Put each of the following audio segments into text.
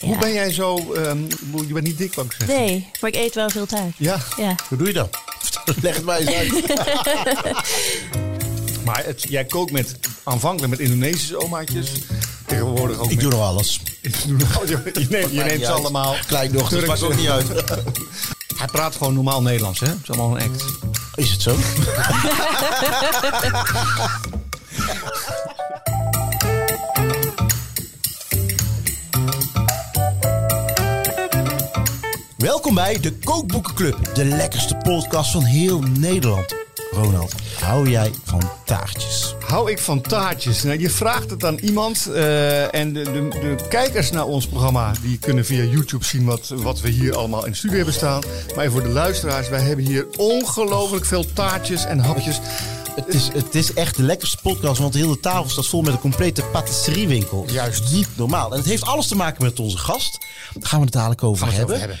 Hoe ben jij zo... ehm, je bent niet dik, wou ik zeggen. Nee, maar ik eet wel veel thuis. Ja? Ja. Hoe doe je dat? Leg het mij eens uit. Maar het, jij kookt met, aanvankelijk met Indonesische omaatjes. Tegenwoordig ook Ik met... doe Oh, nog alles. je neemt, je neemt ze allemaal. Kleindochter, Turks. maakt ook niet uit. Hij praat gewoon normaal Nederlands, hè? Het is allemaal een act. Is het zo? Welkom bij de Kookboekenclub, de lekkerste podcast van heel Nederland. Ronald, hou jij van taartjes? Hou ik van taartjes? Nou, je vraagt het aan iemand. eh, en de, de, de kijkers naar ons programma die kunnen via YouTube zien wat, wat we hier allemaal in de studio hebben staan. Maar voor de luisteraars, wij hebben hier ongelooflijk veel taartjes en hapjes. Het is, het is echt de lekkerste podcast, want de hele tafel staat vol met een complete patisteriewinkel. Juist. Niet normaal. En het heeft alles te maken met onze gast. Daar gaan we het dadelijk over Gaan we hebben. het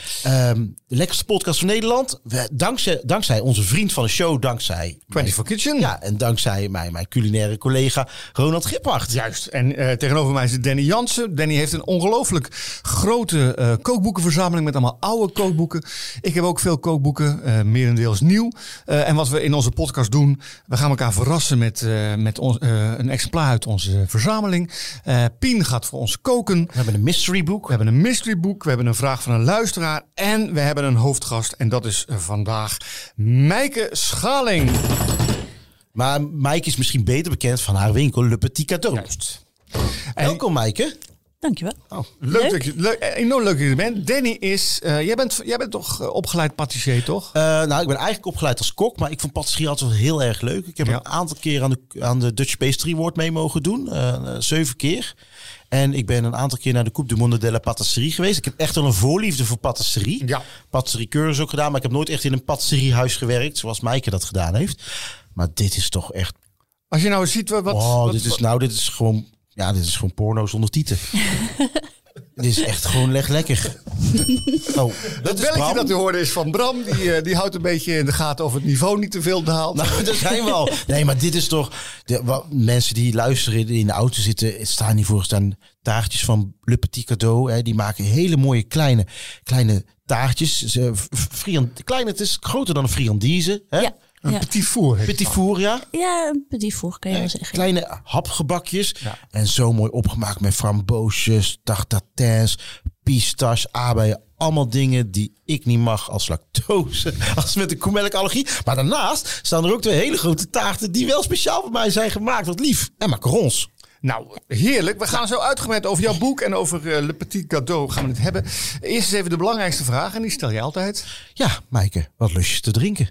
Ehm, de lekkerste podcast van Nederland. We, dankzij, dankzij onze vriend van de show, dankzij... 24 Kitchen. Ja, en dankzij mijn, mijn culinaire collega Ronald Giphart. Juist. En eh, tegenover mij zit Danny Jansen. Danny heeft een ongelooflijk grote eh, kookboekenverzameling met allemaal oude kookboeken. Ik heb ook veel kookboeken, eh, merendeels nieuw. Eh, en wat we in onze podcast doen, we gaan elkaar verrassen met, eh, met ons, eh, een exemplaar uit onze verzameling. Eh, Pien gaat voor ons koken. We hebben een mystery book. We hebben een mysteryboek, we hebben een vraag van een luisteraar en we hebben een hoofdgast. En dat is eh, vandaag Mijke Schaling. Maar Maaike is misschien beter bekend van haar winkel Le Petit Cadeau. En- Welkom Maaike. Dankjewel. Oh, Leuk, Leuk. dat je, leuk, eh, enorm leuk dat je er bent. Danny is, eh, jij, bent, jij bent toch eh, opgeleid patissier, toch? Eh, nou, ik ben eigenlijk opgeleid als kok, maar ik vond patisserie altijd wel heel erg leuk. Ik heb Ja. een aantal keer aan de, aan de Dutch Pastry Award mee mogen doen, eh, eh, zeven keer. En ik ben een aantal keer naar de Coupe du Monde della Patisserie geweest. Ik heb echt wel een voorliefde voor patisserie. Ja. Patisserie is ook gedaan, maar ik heb nooit echt in een patisseriehuis gewerkt, zoals Maaike dat gedaan heeft. Maar dit is toch echt, Als je nou eens ziet wat... wat, wow, wat- dit is nou, dit is gewoon, ja, dit is gewoon porno zonder tieten. dit is echt gewoon leg lekker. Oh, dat is belletje Bram. dat u hoorde is van Bram. Die, eh, die houdt een beetje in de gaten of het niveau niet te veel daalt. Nou, daar zijn we al. Nee, maar dit is toch... De, wa- mensen die luisteren, die in de auto zitten... het staan hiervoor staan taartjes van Le Petit Cadeau. Hè, die maken hele mooie kleine, kleine taartjes. Ze, f- f- friand, klein, het is groter dan een friandise. Hè? Ja, ja. petit four. heeft- Petit four, ja. ja een petit four kan je wel zeggen. Kleine hapgebakjes. En zo mooi opgemaakt met framboosjes, tartatins, pistache, aardbeien. Allemaal dingen die ik niet mag als lactose, als met een koemelkallergie. Maar daarnaast staan er ook twee hele grote taarten die wel speciaal voor mij zijn gemaakt. Wat lief. En macarons. Nou, heerlijk. We gaan zo uitgebreid over jouw boek en over eh, Le Petit Cadeau gaan we het hebben. Eerst eens even de belangrijkste vraag en die stel je altijd. Ja, Maaike, wat lust je te drinken?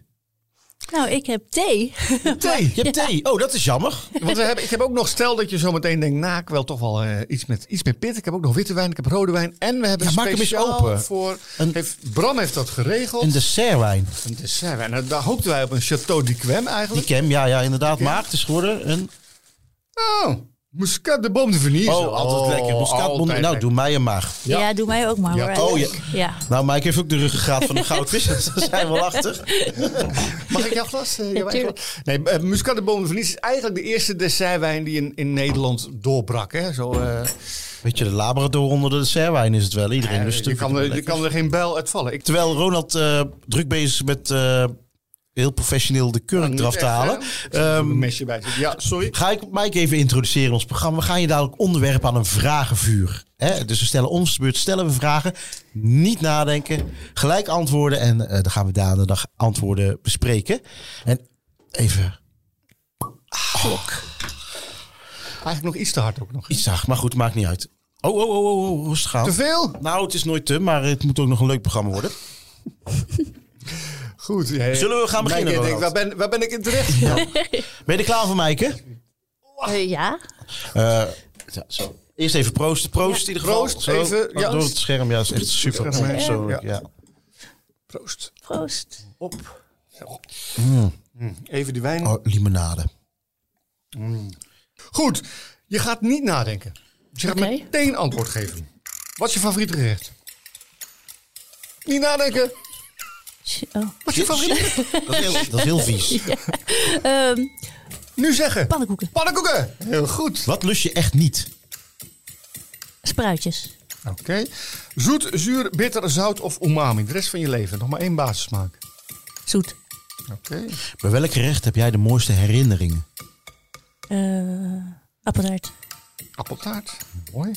Nou, ik heb thee. Thee. Je hebt thee. Oh, dat is jammer. Want we hebben, ik heb ook nog, stel dat je zo meteen denkt, nou, ik wil toch wel eh, iets, met, iets met pit. Ik heb ook nog witte wijn, ik heb rode wijn. En we hebben Ja, maak hem eens speciaal open. voor... Een- heeft, Bram heeft dat geregeld. Een dessertwijn. Een dessertwijn. Nou, daar hoopten wij op een Chateau d'Yquem Die eigenlijk. kem, ja, ja, inderdaad. Maar het is geworden een... Oh, Muscat de Bom de Venise. Oh, altijd lekker. Moscaat, bon- altijd nou, lekker. doe mij een maar. Ja. doe mij ook maar. Ja, hoor. oh, ja. ja. Nou, Mike heeft ook de ruggengraat van een goudvis. dus Daar zijn we wel achter. Mag ik jouw glas? eh, jouw eigen tuurlijk. glas? nee, eh, Muscat de Bom de Venise is eigenlijk de eerste dessertwijn die in, in Nederland doorbrak. Hè? Zo, eh, Weet je, de Labrador onder de dessertwijn is het wel. Iedereen eh, lust je, het. kan, er- je kan er geen bijl uit vallen. Ik, Terwijl Ronald eh, druk bezig is met eh, heel professioneel de kurk niet eraf te echt, halen. hè? een Ehm, mesje bij zitten. Ja, sorry. ga ik Mike even introduceren in ons programma. We gaan je dadelijk onderwerpen aan een vragenvuur. Hè? Dus we stellen ons beurt, stellen we vragen. Niet nadenken, gelijk antwoorden. En eh, dan gaan we daar de dag antwoorden bespreken. En even... Klok. Eigenlijk nog iets te hard ook nog. Iets zacht, maar goed, maakt niet uit. Oh, oh, oh, oh, oh rustig aan. Te veel? Nou, het is nooit te, maar het moet ook nog een leuk programma worden. Goed. Zullen we gaan beginnen, Ik denk, waar, Ronald? ben, waar ben ik in terecht? Ben je er klaar voor, Maaike? Eh, ja. Eh, ja, zo. Eerst even proosten. Proost in ieder geval. Proost, Zo, even, ja. Door het scherm, ja, is echt super. scherm heen, Zo, ja. ja. Proost. Proost. Op. Mm, Even die wijn. Oh, limonade. Goed, je gaat niet nadenken. Dus je gaat Oké. meteen antwoord geven. Wat is je favoriete gerecht? Niet nadenken. Oh. Wat is je favoriete gerecht? Dat is heel, dat is heel vies. Ehm, Nu zeggen. pannenkoeken. Pannenkoeken. Heel goed. Wat lust je echt niet? Spruitjes. Oké. Zoet, zuur, bitter, zout of umami. De rest van je leven. Nog maar één basissmaak. Zoet. Oké. Bij welk gerecht heb jij de mooiste herinneringen? Eh appeltaart. Appeltaart. Mooi.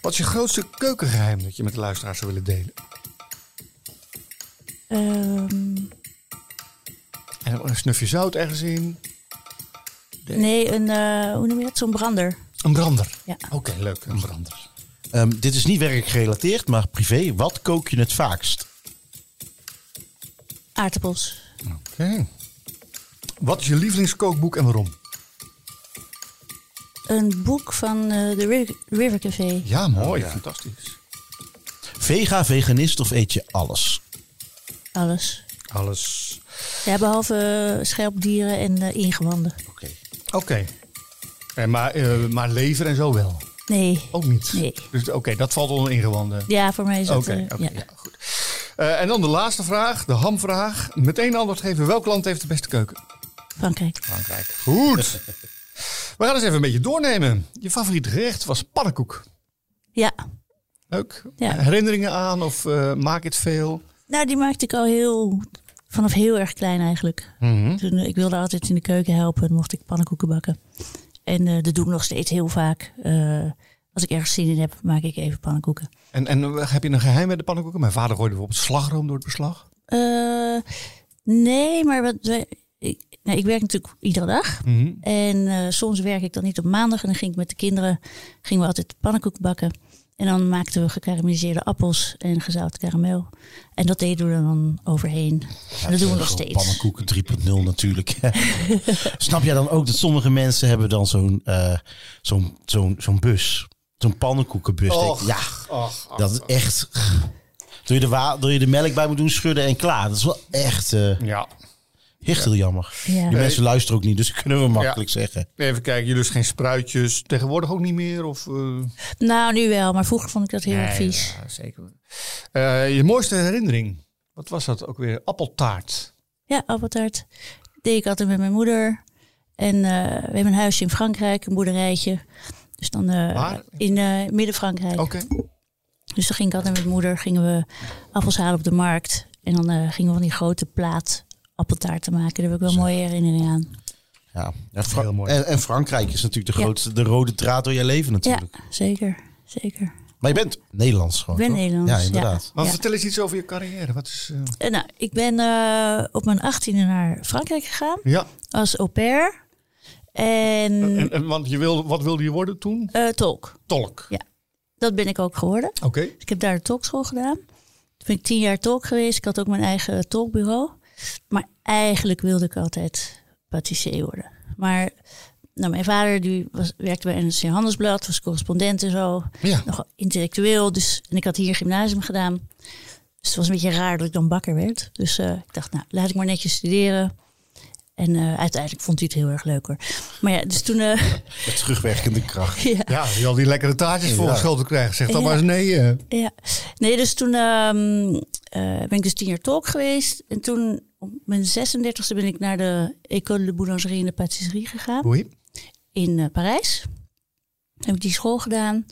Wat is je grootste keukengeheim dat je met de luisteraars zou willen delen? Ehm, En een snufje zout ergens in. nee, een, eh, hoe noem je dat? Zo'n brander. Een brander. Ja. Oké, leuk. Een brander. Ehm, dit is niet werkelijk gerelateerd, maar privé. Wat kook je het vaakst? Aardappels. Oké. Wat is je lievelingskookboek en waarom? Een boek van eh, de Riv- River Café. Oh, Ja, mooi. Fantastisch. Vega, veganist of eet je alles? Alles. Alles. Ja, behalve eh, schelpdieren en eh, ingewanden. Oké. Oké. En maar, eh, maar lever en zo wel. Nee. Ook niet. Nee. Dus oké, dat valt onder ingewanden. Ja, voor mij is dat... Oké, eh, oké, ja. ja. goed. Eh, en dan de laatste vraag, de hamvraag. Meteen antwoord geven. Welk land heeft de beste keuken? Frankrijk. Frankrijk. Goed. We gaan eens even een beetje doornemen. Je favoriete gerecht was pannenkoek. Ja. Leuk. Ja. Herinneringen aan of eh, maak het veel? Nou, die maakte ik al heel... Vanaf heel erg klein eigenlijk. Mhm. Toen, eh, ik wilde altijd in de keuken helpen. Dan mocht ik pannenkoeken bakken. En eh, dat doe ik nog steeds heel vaak. Eh, als ik ergens zin in heb, maak ik even pannenkoeken. En, en eh, heb je een geheim bij de pannenkoeken? Mijn vader gooide bijvoorbeeld slagroom door het beslag. Eh, nee, maar wat, wij- ik, nou, ik werk natuurlijk iedere dag. Mhm. En eh, soms werk ik dan niet op maandag. En dan ging ik met de kinderen gingen we altijd pannenkoek bakken. En dan maakten we gekarameliseerde appels en gezouten karamel. En dat deden we er dan overheen. en dat doen we nog Gewoon steeds. Pannenkoeken 3.0 natuurlijk. Snap jij dan ook dat sommige mensen hebben dan zo'n eh, zo'n zo'n zo'n bus? Zo'n pannenkoekenbus. Denk ik, ja, Och, dat is echt... Doe je, de wa- doe je de melk bij moet doen, schudden en klaar. Dat is wel echt eh Ja. echt heel jammer. Ja. Die mensen luisteren ook niet, dus dat kunnen we makkelijk zeggen. Even kijken, jullie dus geen spruitjes. Tegenwoordig ook niet meer? Of, eh, Nou, nu wel. Maar vroeger vond ik dat heel erg Nee, vies. ja, zeker. Eh, je mooiste herinnering. Wat was dat ook weer? Appeltaart. Ja, appeltaart. Deed ik altijd met mijn moeder. En eh, we hebben een huisje in Frankrijk, een boerderijtje. Dus dan eh, Waar? in eh, midden-Frankrijk. Oké. Dus dan ging ik altijd met mijn moeder, gingen we appels halen op de markt. En dan eh, gingen we van die grote plaat appeltaarten maken. Daar heb ik wel mooie herinneringen aan. Ja. Ja, Fra- Heel mooi. En, en Frankrijk is natuurlijk de Ja. grootste, de rode draad door je leven Ja, natuurlijk. zeker. Zeker. Maar je bent Nederlands gewoon, Ik ben toch? Nederlands. Ja, inderdaad. Maar Ja. vertel eens iets over je carrière. Wat is, eh, Eh, nou, ik ben eh, op mijn 18e naar Frankrijk gegaan ja. als au pair. En En, en, want je wilde, wat wilde je worden toen? eh, tolk. Tolk. Dat ben ik ook geworden. Oké. Ik heb daar de tolkschool gedaan. Toen ben ik tien jaar tolk geweest. Ik had ook mijn eigen tolkbureau. Maar eigenlijk wilde ik altijd patissier worden. Maar nou, mijn vader die was, werkte bij NRC Handelsblad, was correspondent en zo. Ja. Nogal intellectueel. Dus, en ik had hier gymnasium gedaan. Dus het was een beetje raar dat ik dan bakker werd. Dus eh, ik dacht, nou, laat ik maar netjes studeren. En eh, uiteindelijk vond hij het heel erg leuk hoor. Maar ja, dus toen... eh, Met terugwerkende kracht. ja. Ja, die al die lekkere taartjes voor Ja. school te krijgen. Zeg dan Ja. maar eens nee. eh. Ja, nee, dus toen ehm, eh, ben ik dus tien jaar tolk geweest. En toen, op mijn 36e, ben ik naar de École de Boulangerie en de Patisserie gegaan Oei. in eh, Parijs. Heb ik die school gedaan,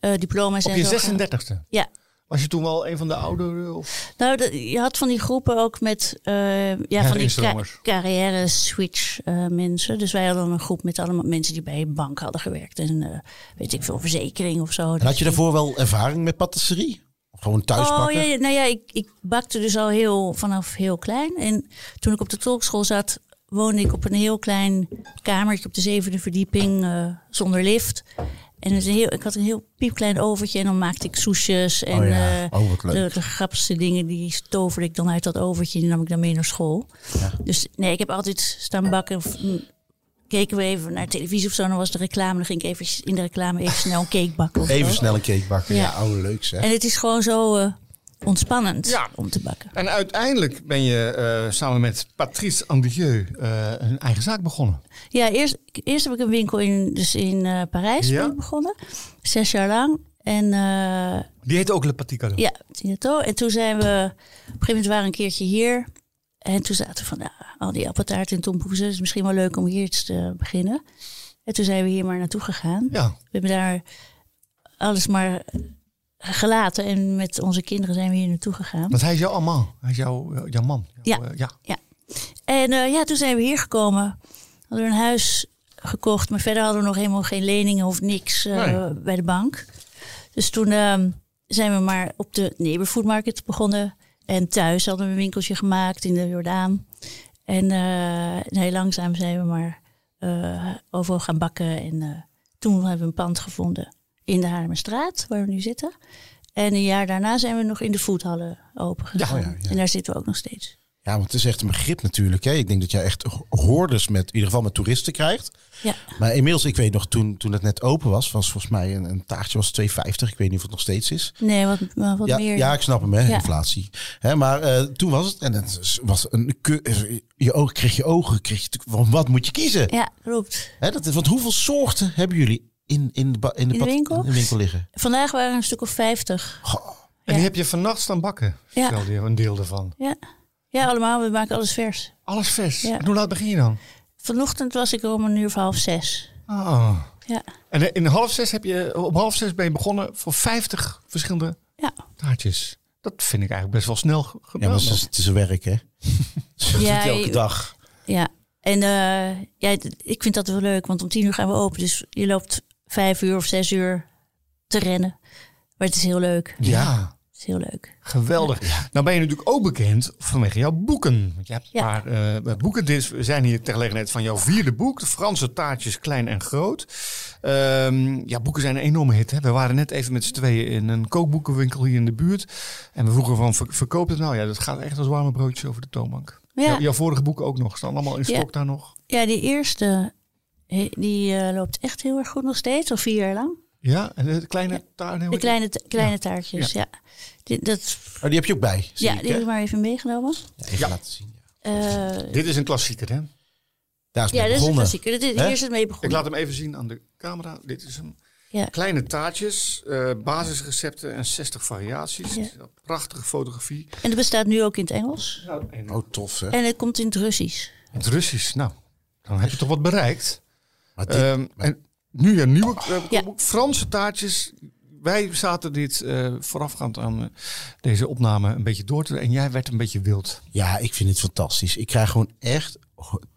eh, diploma's Op en je zo. 36e. Ja, Was je toen wel een van de ouderen? Of? nou, de- je had van die groepen ook met eh, ja, van die ca Herinstromers. carrière-switch eh, mensen. Dus wij hadden een groep met allemaal mensen die bij een bank hadden gewerkt. En eh, weet ik veel, verzekering of zo. Dus En had je daarvoor wel ervaring met patisserie? Of gewoon thuis Oh bakken? ja, ja, nou ja, ik, ik bakte dus al heel, vanaf heel klein. En toen ik op de tolkschool zat, woonde ik op een heel klein kamertje op de zevende verdieping eh, zonder lift. En het is een heel, ik had een heel piepklein overtje en dan maakte ik soesjes en Oh ja. eh, Oh, wat leuk. de, de grappigste dingen die toverde ik dan uit dat overtje en die nam ik dan mee naar school. Dus nee, ik heb altijd staan bakken. Of, mm, keken we even naar televisie of zo, dan was de reclame, dan ging ik even in de reclame even snel een cake bakken. of Even zo. snel een cake bakken. Ja, Ja. oude leuk zeg. En het is gewoon zo eh, ontspannend Ja. om te bakken. En uiteindelijk ben je eh, samen met Patrice Andieu eh, een eigen zaak begonnen. Ja, eerst, eerst heb ik een winkel in, dus in eh, Parijs Ja. ben ik begonnen. Zes jaar lang. En eh, Die heette ook Le Petit Cadeau. ja, Tinato. En toen zijn we, op een gegeven moment waren we een keertje hier. En toen zaten we van, nou, al die appeltaart en tompoezen. is misschien wel leuk om hier iets te beginnen. En toen zijn we hier maar naartoe gegaan. Ja. We hebben daar alles maar gelaten. En met onze kinderen zijn we hier naartoe gegaan. Want hij is jouw man. Hij is jouw, jouw man. Jouw, Ja. eh, ja. En eh, ja, toen zijn we hier gekomen. Hadden we een huis gekocht, maar verder hadden we nog helemaal geen leningen of niks eh, Nee. bij de bank. Dus toen ehm, zijn we maar op de neighborhood market begonnen. En thuis hadden we een winkeltje gemaakt in de Jordaan. En eh, en heel langzaam zijn we maar eh, overal gaan bakken. En eh, toen hebben we een pand gevonden in de Haarlemmerstraat, waar we nu zitten. En een jaar daarna zijn we nog in de foodhallen open gegaan. ja, ja. En daar zitten we ook nog steeds. Ja, want het is echt een begrip natuurlijk. Hè. Ik denk dat jij echt hoorders met, in ieder geval met toeristen krijgt. Ja. Maar inmiddels, ik weet nog, toen, toen het net open was, was volgens mij een, een taartje was 2,50. Ik weet niet of het nog steeds is. Nee, wat, wat ja, meer. ja, ik snap hem, hè, Ja. inflatie. Hè, maar eh, toen was het, en het is- was een, keu- je ogen, kreeg je ogen, kreeg je, van wat moet je kiezen? Ja, klopt. Hè, dat is, want hoeveel soorten hebben jullie in, in, de, ba- in, de, de pad- winkel? in de winkel liggen? Vandaag waren er een stuk of 50. Goh, En Ja. die heb je vannacht staan bakken. Ja. Vertelde je een deel ervan. Ja. ja, allemaal. We maken alles vers. Alles vers. Ja. En hoe laat begin je dan? Vanochtend was ik er om een uur of half zes. Ah. Ja, En in half zes heb je, eh, op half zes ben je begonnen voor 50 verschillende ja. taartjes. Dat vind ik eigenlijk best wel snel g- ja, gedaan. maar het is, het is een werk, hè? Ja, Ja, elke je- dag. ja. En eh, ja, d- ik vind dat wel leuk, want om tien uur gaan we open. Dus je loopt vijf uur of zes uur te rennen. Maar het is heel leuk. ja. Het is heel leuk. Geweldig. Nou ben je natuurlijk ook bekend vanwege jouw boeken. Want je hebt een Ja. paar eh, boeken. Dit is- we zijn hier ter gelegenheid van jouw vierde boek. De Franse taartjes klein en groot. Ehm, ja, boeken zijn een enorme hit. Hè? We waren net even met z'n tweeën in een kookboekenwinkel hier in de buurt. En we vroegen van, ver- verkoopt het nou? Ja, dat gaat echt als warme broodjes over de toonbank. Ja. Jouw- jouw vorige boeken ook nog. Staan allemaal in Ja. stok daar nog. Ja, die eerste, he- die eh, loopt echt heel erg goed nog steeds. Al vier jaar lang. Ja, en de kleine taart. De kleine, ta- kleine taartjes, ja. Die- dat, Oh, die heb je ook bij. zie ja, ik, die hè? heb ik maar even meegenomen. Ja, even Ja. laten zien. Ja. Eh, Dit is een klassieker, hè? Daar is Ja, dat is mee een begonnen. klassieker. Dit is, Hè? hier is het mee Ik begonnen. laat hem even zien aan de camera. Dit is hem. Ja. Kleine taartjes, eh, basisrecepten en 60 variaties. Ja. Prachtige fotografie. En het bestaat nu ook in het Engels. En Oh, tof, hè? En het komt in het Russisch. het Russisch, nou, dan heb je toch wat bereikt. Maar dit- Ehm, en nu een nieuwe eh, Ja. boek, Franse taartjes. Wij zaten dit eh, voorafgaand aan eh, deze opname een beetje door te doen. En jij werd een beetje wild. Ja, ik vind het fantastisch. Ik krijg gewoon echt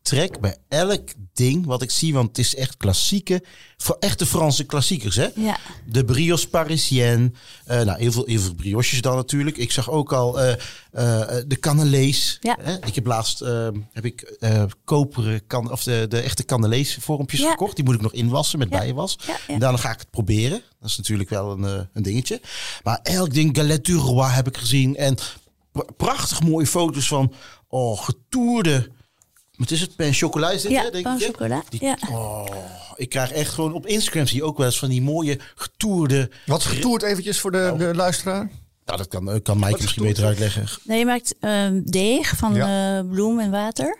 trek bij elk ding wat ik zie. Want het is echt klassieke, voor echte Franse klassiekers. Hè? Ja. De brioche parisienne. eh, nou, heel veel, heel veel brioches dan natuurlijk. Ik zag ook al eh, eh, de cannelés. Ja. Hè? Ik heb laatst eh, heb ik, eh, koperen kan, of de, de echte cannelés vormpjes Ja. gekocht. Die moet ik nog inwassen met Ja. bijenwas. Ja, ja. En daarna ga ik het proberen. Dat is natuurlijk wel een, eh, een dingetje. Maar elk ding, Galette du Roi heb ik gezien. En pr- prachtig mooie foto's van oh, getoerde... Wat is het? Pain chocola is dit, Ja, hè, denk pain ik, hè? chocola, Die- ja. oh, ik krijg echt gewoon... Op Instagram zie je ook wel eens van die mooie getoerde... Wat getoerd eventjes voor de, de luisteraar. Nou, dat kan, eh, kan Mike misschien getoerd? beter uitleggen. Nee, je maakt ehm, deeg van Ja. eh, bloem en water.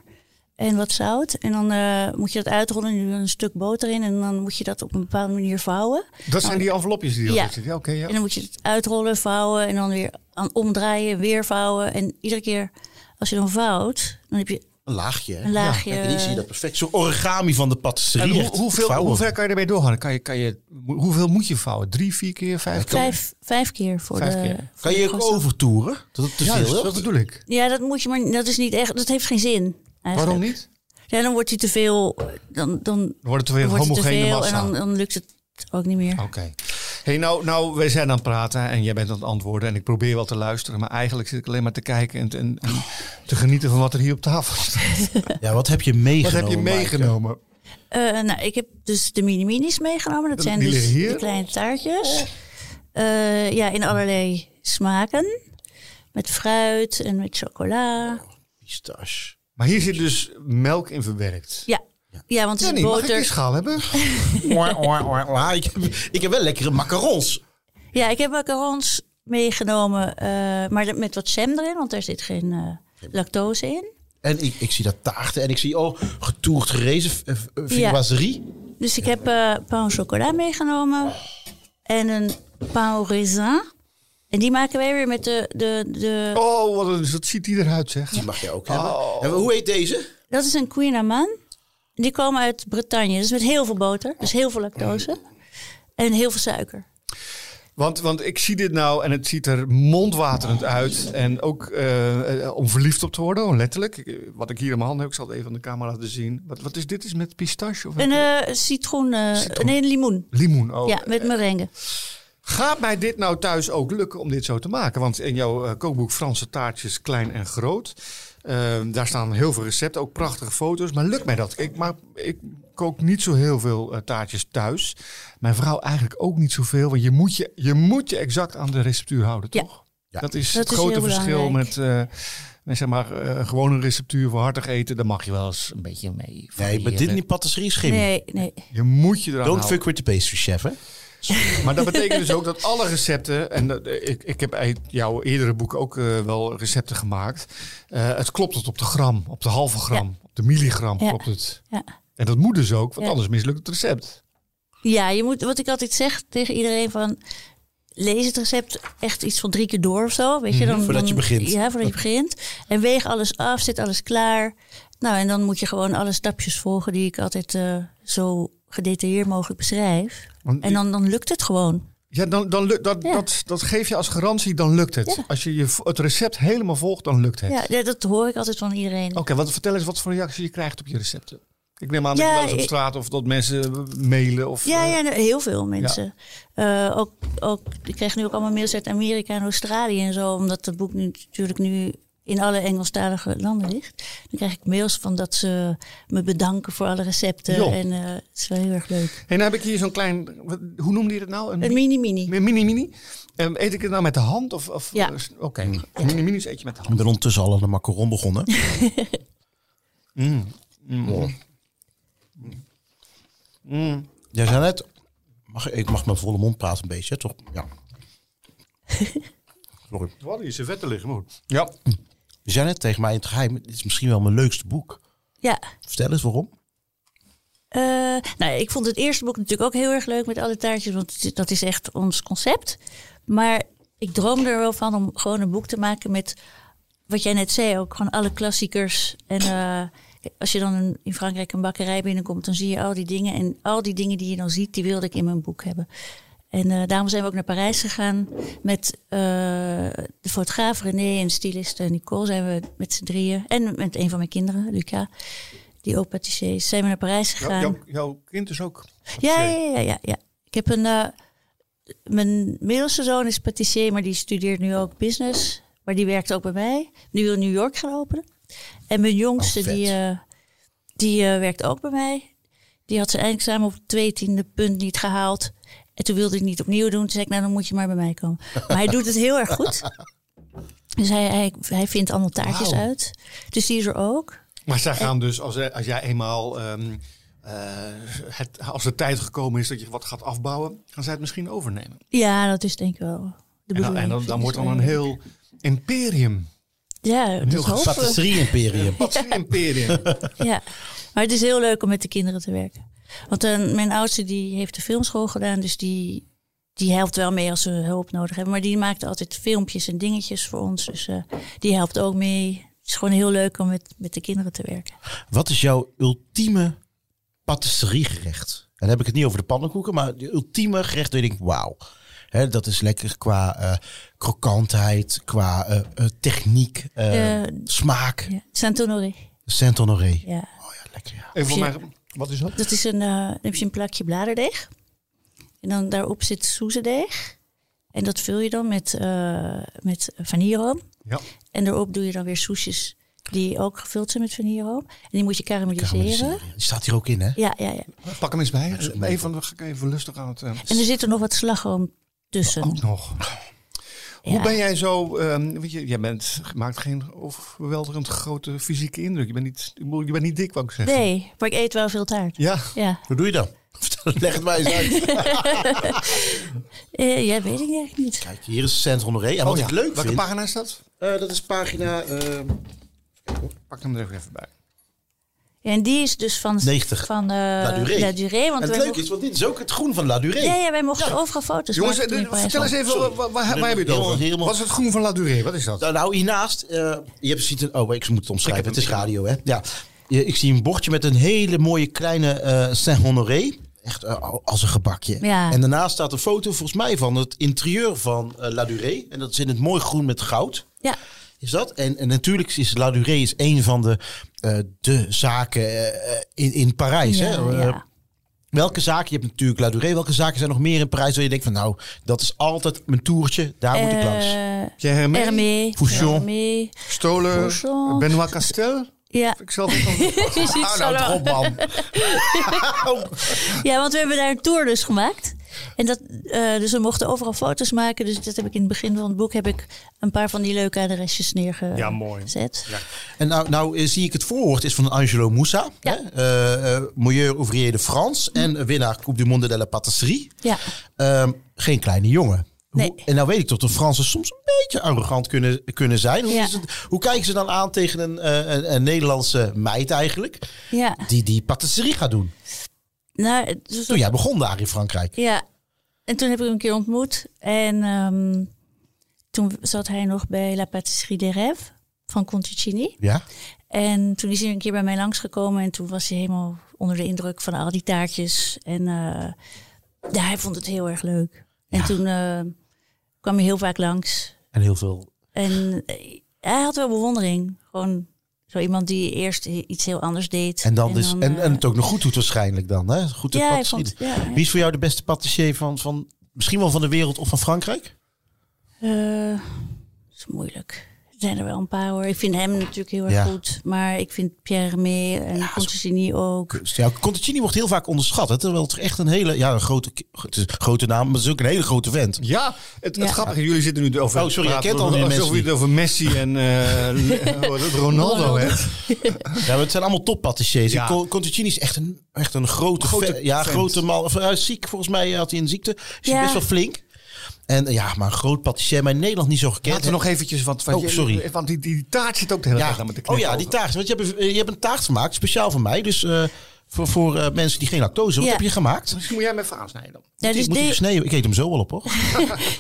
En wat zout. En dan eh, moet je dat uitrollen. En je doet een stuk boter in. En dan moet je dat op een bepaalde manier vouwen. Dat zijn die envelopjes die Nou. Ja. erop zitten. Ja, oké, ja. En dan moet je het uitrollen, vouwen. En dan weer aan omdraaien, weer vouwen. En iedere keer als je dan vouwt, dan heb je Een laagje. hè? een laagje. Kijk, en hier zie je dat perfect. Zo'n origami van de patisserie. En hoe, Echt hoeveel, vouwen. hoe ver kan je ermee doorgaan? Kan je, kan je, hoeveel moet je vouwen? Drie, vier keer, vijf keer? Vijf, vijf keer voor Vijf de. keer. voor Kan de je ook croissant. overtoeren? Dat het te Juist, veel dat is? bedoel ik. Ja, dat moet je maar. Dat is niet echt. Dat heeft geen zin. eigenlijk. Waarom niet? Ja, dan wordt hij te veel. Dan, dan Dan wordt het weer een wordt het te homogene veel massa. Ah. en dan, dan lukt het ook niet meer. Oké. Hey, nou, nou, wij zijn aan het praten en jij bent aan het antwoorden. En ik probeer wel te luisteren, maar eigenlijk zit ik alleen maar te kijken en, en, en te genieten van wat er hier op tafel staat. Ja, wat heb je meegenomen? Wat heb je Maaike? meegenomen? Eh, nou, ik heb dus de mini-minis meegenomen. Dat zijn Die dus liggen hier? de kleine taartjes. Eh, ja, in allerlei smaken. Met fruit en met chocola. Pistache. Maar hier zit dus melk in verwerkt. Ja, ja want het is Jenny, mag ik die boter. schaal hebben? Oor, oor, oor, oor. Ah, Ik, heb, ik heb wel lekkere macarons. Ja, ik heb macarons meegenomen. eh, maar met wat jam erin, want daar zit geen eh, lactose in. En ik, ik zie dat taarten en ik zie, oh, getoerd gerezen eh, eh, viennoiserie. Dus ik heb eh pain au chocola meegenomen en een pain au raisin. En die maken wij weer met de... de, de Oh, wat een, dat ziet die eruit, zeg. Die mag je ook Oh. hebben. En hoe heet deze? Dat is een Queen Amman. Die komen uit Bretagne, dus met heel veel boter. Dus heel veel lactose. En heel veel suiker. Want, want ik zie dit nou en het ziet er mondwaterend uit. En ook eh, eh, om verliefd op te worden, letterlijk. Ik- eh, Wat ik hier in mijn handen heb, ik zal het even aan de camera laten zien. Wat, wat is dit? Is met pistache? Of Een eh, citroen, eh, Citroen. nee, een limoen. limoen? Oh. Ja, met merengue. Gaat mij dit nou thuis ook lukken om dit zo te maken? Want in jouw eh, kookboek Franse taartjes klein en groot, eh, daar staan heel veel recepten, ook prachtige foto's. Maar lukt mij dat? Ik, maak, ik kook niet zo heel veel eh, taartjes thuis. Mijn vrouw eigenlijk ook niet zoveel, want je moet je, je, moet je exact aan de receptuur houden, Ja. toch? Ja. Dat is Dat het is grote heel verschil belangrijk. met... eh, met zeg maar, eh, gewoon een receptuur voor hartig eten, daar mag je wel eens een beetje mee. Nee, maar dit variëren. niet patisserie is geen- Nee, nee. Je moet je eraan Don't houden. fuck with the pastry chef, hè? Maar dat betekent dus ook dat alle recepten, en dat, eh, ik, ik heb uit jouw eerdere boek ook eh, wel recepten gemaakt. eh, het klopt tot op de gram, op de halve gram, op de milligram Ja. klopt het. Ja. En dat moet dus ook, want Ja. anders mislukt het recept. Ja, je moet, wat ik altijd zeg tegen iedereen van... Lees het recept echt iets van drie keer door of zo. Weet je, dan, Mhm, voordat dan- je begint. Ja, voordat je begint. En weeg alles af, zet alles klaar. Nou, en dan moet je gewoon alle stapjes volgen die ik altijd eh, zo gedetailleerd mogelijk beschrijf. Want En dan, dan lukt het gewoon. ja, dan, dan lukt dat, Ja. dat, dat geef je als garantie, dan lukt het. Ja. Als je, je v- het recept helemaal volgt, dan lukt het. Ja, ja, dat hoor ik altijd van iedereen. Oké, wat, vertel eens wat voor reactie je krijgt op je recepten. Ik neem aan dat Ja, je wel eens op ik- straat of dat mensen mailen. Of, Ja, eh, ja, nou, heel veel mensen. Eh, ook, ook, ik krijg nu ook allemaal mails uit Amerika en Australië en zo, omdat het boek nu natuurlijk nu in alle Engelstalige landen ligt. Dan krijg ik mails van dat ze me bedanken voor alle recepten. Joh. En eh, het is wel heel erg leuk. En dan nou heb ik hier zo'n klein, wat- hoe noemde je dat nou? Een mini-mini. Mi- Mini mini. Ehm, eet ik het nou met de hand? Of, of Ja. eh, s- Oké, mini mini's eet je met de Ik hand. ben ondertussen al aan de macaron begonnen. Mm. Mm. Jij zei net, mag, ik mag mijn volle mond praten een beetje, toch? Ja. Sorry. Wat is je vetten liggen, man. Ja. Je zei net tegen mij in het geheim, dit is misschien wel mijn leukste boek. Ja. Vertel eens waarom. Eh, nou, ja, ik vond het eerste boek natuurlijk ook heel erg leuk met alle taartjes, want het- dat is echt ons concept. Maar ik droomde er wel van om gewoon een boek te maken met wat jij net zei, ook gewoon alle klassiekers. En eh, als je dan een- in Frankrijk een bakkerij binnenkomt, dan zie je al die dingen. En al die dingen die je dan ziet, die wilde ik in mijn boek hebben. En eh, daarom zijn we ook naar Parijs gegaan met eh, de fotograaf René en styliste Nicole. Zijn we met z'n drieën en met een van mijn kinderen, Luca, die ook patissier is, zijn we naar Parijs Jou- gegaan. jouw, jouw kind is ook. Ja, patissier. ja, ja, ja, ja. Ik heb een. eh, mijn middelste zoon is patissier, maar die studeert nu ook business. Maar die werkt ook bij mij. Die wil New York gaan openen. En mijn jongste, Oh, vet. die, eh, die eh, werkt ook bij mij. Die had zijn eindexamen op het tweetiende punt niet gehaald. En toen wilde ik niet opnieuw doen. Toen zei ik, nou dan moet je maar bij mij komen. Maar hij doet het heel erg goed. Dus hij, hij, hij vindt allemaal taartjes Wauw. uit. Dus die is er ook. Maar zij gaan dus, als, eh, als jij eenmaal, ehm, eh, het, als de tijd gekomen is dat je wat gaat afbouwen, gaan zij het misschien overnemen. Ja, dat is denk ik wel En de dan, bedoeling. Dus en dan, dan wordt dan een heel imperium. Ja, dus dat heel hopen we. Patisserie-imperium. Wat een imperium. Ja, maar het is heel leuk om met de kinderen te werken. Want eh, mijn oudste die heeft de filmschool gedaan, dus die, die helpt wel mee als ze hulp nodig hebben. Maar die maakt altijd filmpjes en dingetjes voor ons, dus eh, die helpt ook mee. Het is gewoon heel leuk om met, met de kinderen te werken. Wat is jouw ultieme patisseriegerecht? En dan heb ik het niet over de pannenkoeken, maar de ultieme gerecht waar je denkt, wauw. Hè, dat is lekker qua eh, krokantheid, qua eh, eh, techniek, eh, Eh, smaak. Ja. Saint-Honoré, Saint-Honoré. ja. Oh ja, lekker ja. Even voor mij, wat is dat? Dat is een, eh, dan heb je een plakje bladerdeeg. En dan daarop zit soezedeeg. En dat vul je dan met, eh met vanilleroom. Ja. En daarop doe je dan weer soesjes die ook gevuld zijn met vanilleroom. En die moet je karamelliseren. Karamelliseren. Die staat hier ook in, hè? Ja, ja, ja. Pak hem eens bij. is een Even, dan ga ik even lustig aan het... eh, En er zit er nog wat slagroom tussen. Oh, Ook nog. Hoe Ja. ben jij zo? ehm, weet je, jij bent, maakt geen overweldigend grote fysieke indruk. Je bent niet, ik bedoel, je bent niet dik, wou ik zeggen. Nee, maar ik eet wel veel taart. Ja. Ja, Hoe doe je dat? Leg het mij eens uit. Eh, ja weet ik eigenlijk niet. Kijk, hier is Saint-Honoré. En wat Oh ja. ik leuk Welke vind... pagina is dat? Eh, dat is pagina eh, Pak hem er even bij. Ja, en die is dus van, 90. van eh La Durée. La Durée, en want het wij leuke mochten, is, want dit is ook het groen van La Durée. ja, ja, wij mochten overal foto's Jongens, maken. toen eh, ik bij vertel was. eens even, Sorry. wa- wa- waar, Helemaal- waar heb je het over? helemaal- Wat is het groen van La Durée? Wat is dat? Nou, nou, hiernaast, eh, je hebt ziet een, oh, ik moet het omschrijven, het is radio, hè? Ja. Je- Ik zie een bordje met een hele mooie kleine eh Saint-Honoré. echt eh, als een gebakje. Ja. En daarnaast staat een foto volgens mij van het interieur van eh, La Durée. En dat is in het mooi groen met goud. Ja, Is dat? En, en natuurlijk is La Durée is een van de, eh, de zaken eh, eh, in, in Parijs. ja, hè? Eh, ja. Welke zaken, je hebt natuurlijk La Durée, welke zaken zijn nog meer in Parijs waar je denkt van nou, dat is altijd mijn toertje, daar moet ik langs. Eh, Pierre Hermé, Hermé. Fouchon. Hermé. Stolen, Fouchon. Benoit Castel. E. Ja. Ik zal het dan- Precies, Ah, nou, allemaal. drop, man. Ja, want we hebben daar een tour dus gemaakt. En dat, eh, dus we mochten overal foto's maken. Dus dat heb ik in het begin van het boek heb ik een paar van die leuke adresjes neergezet. Ja, mooi. En nou, nou eh, zie ik het voorwoord is van Angelo Moussa, Ja. hè? Eh, eh, Milieu Ouvrier de France en winnaar Coupe du Monde de la Patisserie. Ja. Ehm, geen kleine jongen. Hoe- Nee. en nou weet ik toch dat Fransen soms een beetje arrogant kunnen, kunnen zijn. Hoe, Ja. is het- hoe kijken ze dan aan tegen een, eh, een, een Nederlandse meid eigenlijk, ja. die die patisserie gaat doen? Nou, het was- Toen jij begon daar in Frankrijk. ja. En toen heb ik hem een keer ontmoet. En ehm, toen zat hij nog bij La Patisserie des Rêves van Conticini. Ja? En toen is hij een keer bij mij langsgekomen en toen was hij helemaal onder de indruk van al die taartjes. En eh, ja, hij vond het heel erg leuk. En Ja. toen eh, kwam hij heel vaak langs. En heel veel. En eh, hij had wel bewondering. Gewoon zo iemand die eerst i- iets heel anders deed. En, dan dus, en, eh, en het ook nog goed doet waarschijnlijk dan. Hè? Goed de ja, hij patisserie. vond, ja, Wie is voor jou de beste patissier van, van misschien wel van de wereld of van Frankrijk? Eh, dat is moeilijk. Er zijn er wel een paar hoor. Ik vind hem natuurlijk heel erg Ja. goed. Maar ik vind Pierre Hermé en Ja, ja, zo- ook. Dus Ja, Conticini wordt heel vaak onderschat. Hè? Terwijl het echt een hele ja, een grote, het is een grote naam, maar het is ook een hele grote vent. Ja, het, het Ja. grappige, jullie zitten nu over. Oh, sorry, ik praten ken het al, die alsof mensen jullie het over Messi en eh, Le- hoe heet het, Ronaldo Ronaldo. hebt. Ja, maar het zijn allemaal toppatissiers. Ja. Ja. Conticini is echt een, echt een grote, Grote ve- ja, vent. grote man. Of, hij is ziek, volgens mij eh, had hij een ziekte. Is hij Ja. best wel flink. En eh, ja, maar een groot patissier, maar in Nederland niet zo gekend. Laten we nog eventjes, want, want Oh, je- sorry. eh, want die, die taart zit ook de hele ja. tijd aan me te Oh knippen ja, die taart. Want je hebt, een- eh, je hebt een taart gemaakt, speciaal voor mij. Dus eh, voor, voor eh, mensen die geen lactose. Wat Ja. heb je gemaakt? Misschien moet jij hem even aansnijden dan. Nou, dus ik moet dus- de- hem gesneden. Ik eet hem zo wel op, hoor.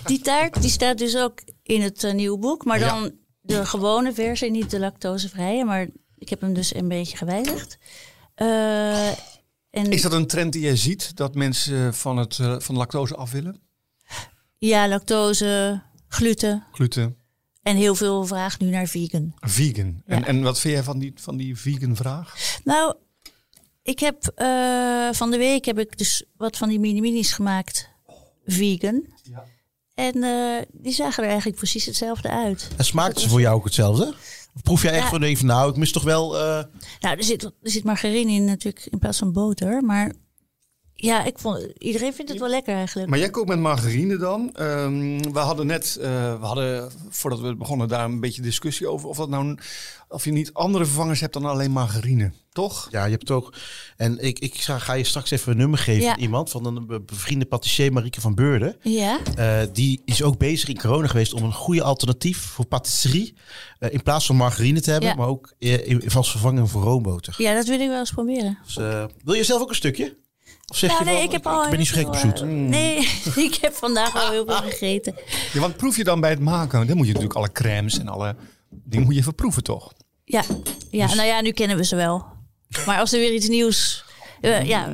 Die taart die staat dus ook in het eh, nieuwe boek. Maar dan de gewone versie, niet de lactosevrije. Maar ik heb hem dus een beetje gewijzigd. Eh, en Is dat een trend die jij ziet, dat mensen van, het, eh, van lactose af willen? Ja, lactose, gluten. Gluten, En heel veel vraag nu naar vegan. vegan. En, Ja. en wat vind jij van die, van die vegan vraag? Nou, ik heb eh, van de week heb ik dus wat van die mini-minis gemaakt. Vegan. Ja. En eh, die zagen er eigenlijk precies hetzelfde uit. En smaakt ze voor jou ook hetzelfde? Of proef jij echt Ja. van denk van nou, ik mis toch wel. eh, Nou, er zit, er zit margarine in natuurlijk in plaats van boter. Maar ja, ik vond, iedereen vindt het wel lekker eigenlijk. Maar jij kookt met margarine dan. Ehm, we hadden net, eh, we hadden voordat we begonnen, daar een beetje discussie over. Of, dat nou, een- of je niet andere vervangers hebt dan alleen margarine, toch? Ja, je hebt het ook. En ik, ik ga, ga je straks even een nummer geven Ja. aan iemand van een be- bevriende patissier Marieke van Beurden. Ja, Eh, die is ook bezig in corona geweest om een goede alternatief voor patisserie. eh, in plaats van margarine te hebben, Ja. maar ook eh, in, als vervanging voor roomboter. ja, dat wil ik wel eens proberen. Dus, eh, wil je zelf ook een stukje? Of zeg Nou, je nee, wel, ik, heb al ben niet zo gek heel op veel, zoet. Mm. eh, Nee, ik heb vandaag al heel veel gegeten. Ja, want proef je dan bij het maken? Dan moet je natuurlijk alle crèmes en alle dingen moet je even proeven, toch? Ja, ja nou ja, nu kennen we ze wel. Maar als er weer iets nieuws... eh, ja, eh,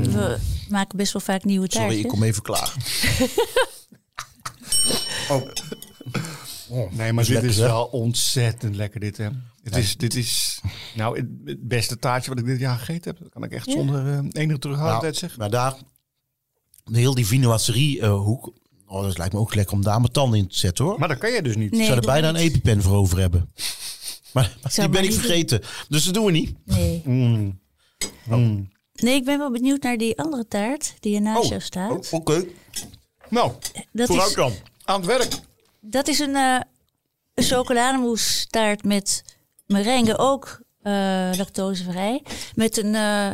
we maken best wel vaak nieuwe taartjes. Sorry, ik kom even klaar. Oh, Nee, maar dit lekker, is hè? wel ontzettend lekker dit, hè? Het is, dit is nou het, het beste taartje wat ik dit jaar gegeten heb. Dat kan ik echt Ja. zonder eh, enige terughoudendheid Nou, zeggen. Maar daar, de heel die vinoisserie-hoek, oh, dat lijkt me ook lekker om daar mijn tanden in te zetten hoor. Maar dat kan jij dus niet. Nee, Ik zou ik er doe bijna een niet. EpiPen voor over hebben. Maar, maar die maar ben ik niet vergeten. Dus dat doen we niet. Nee. Mm. Mm. nee, ik ben wel benieuwd naar die andere taart die er naast Oh, jou staat. Oh, Oké, Nou, Dat vooruit is, dan. aan het werk. dat is een, eh een chocolademoestaart met merengue, ook eh, lactosevrij. Met een, eh,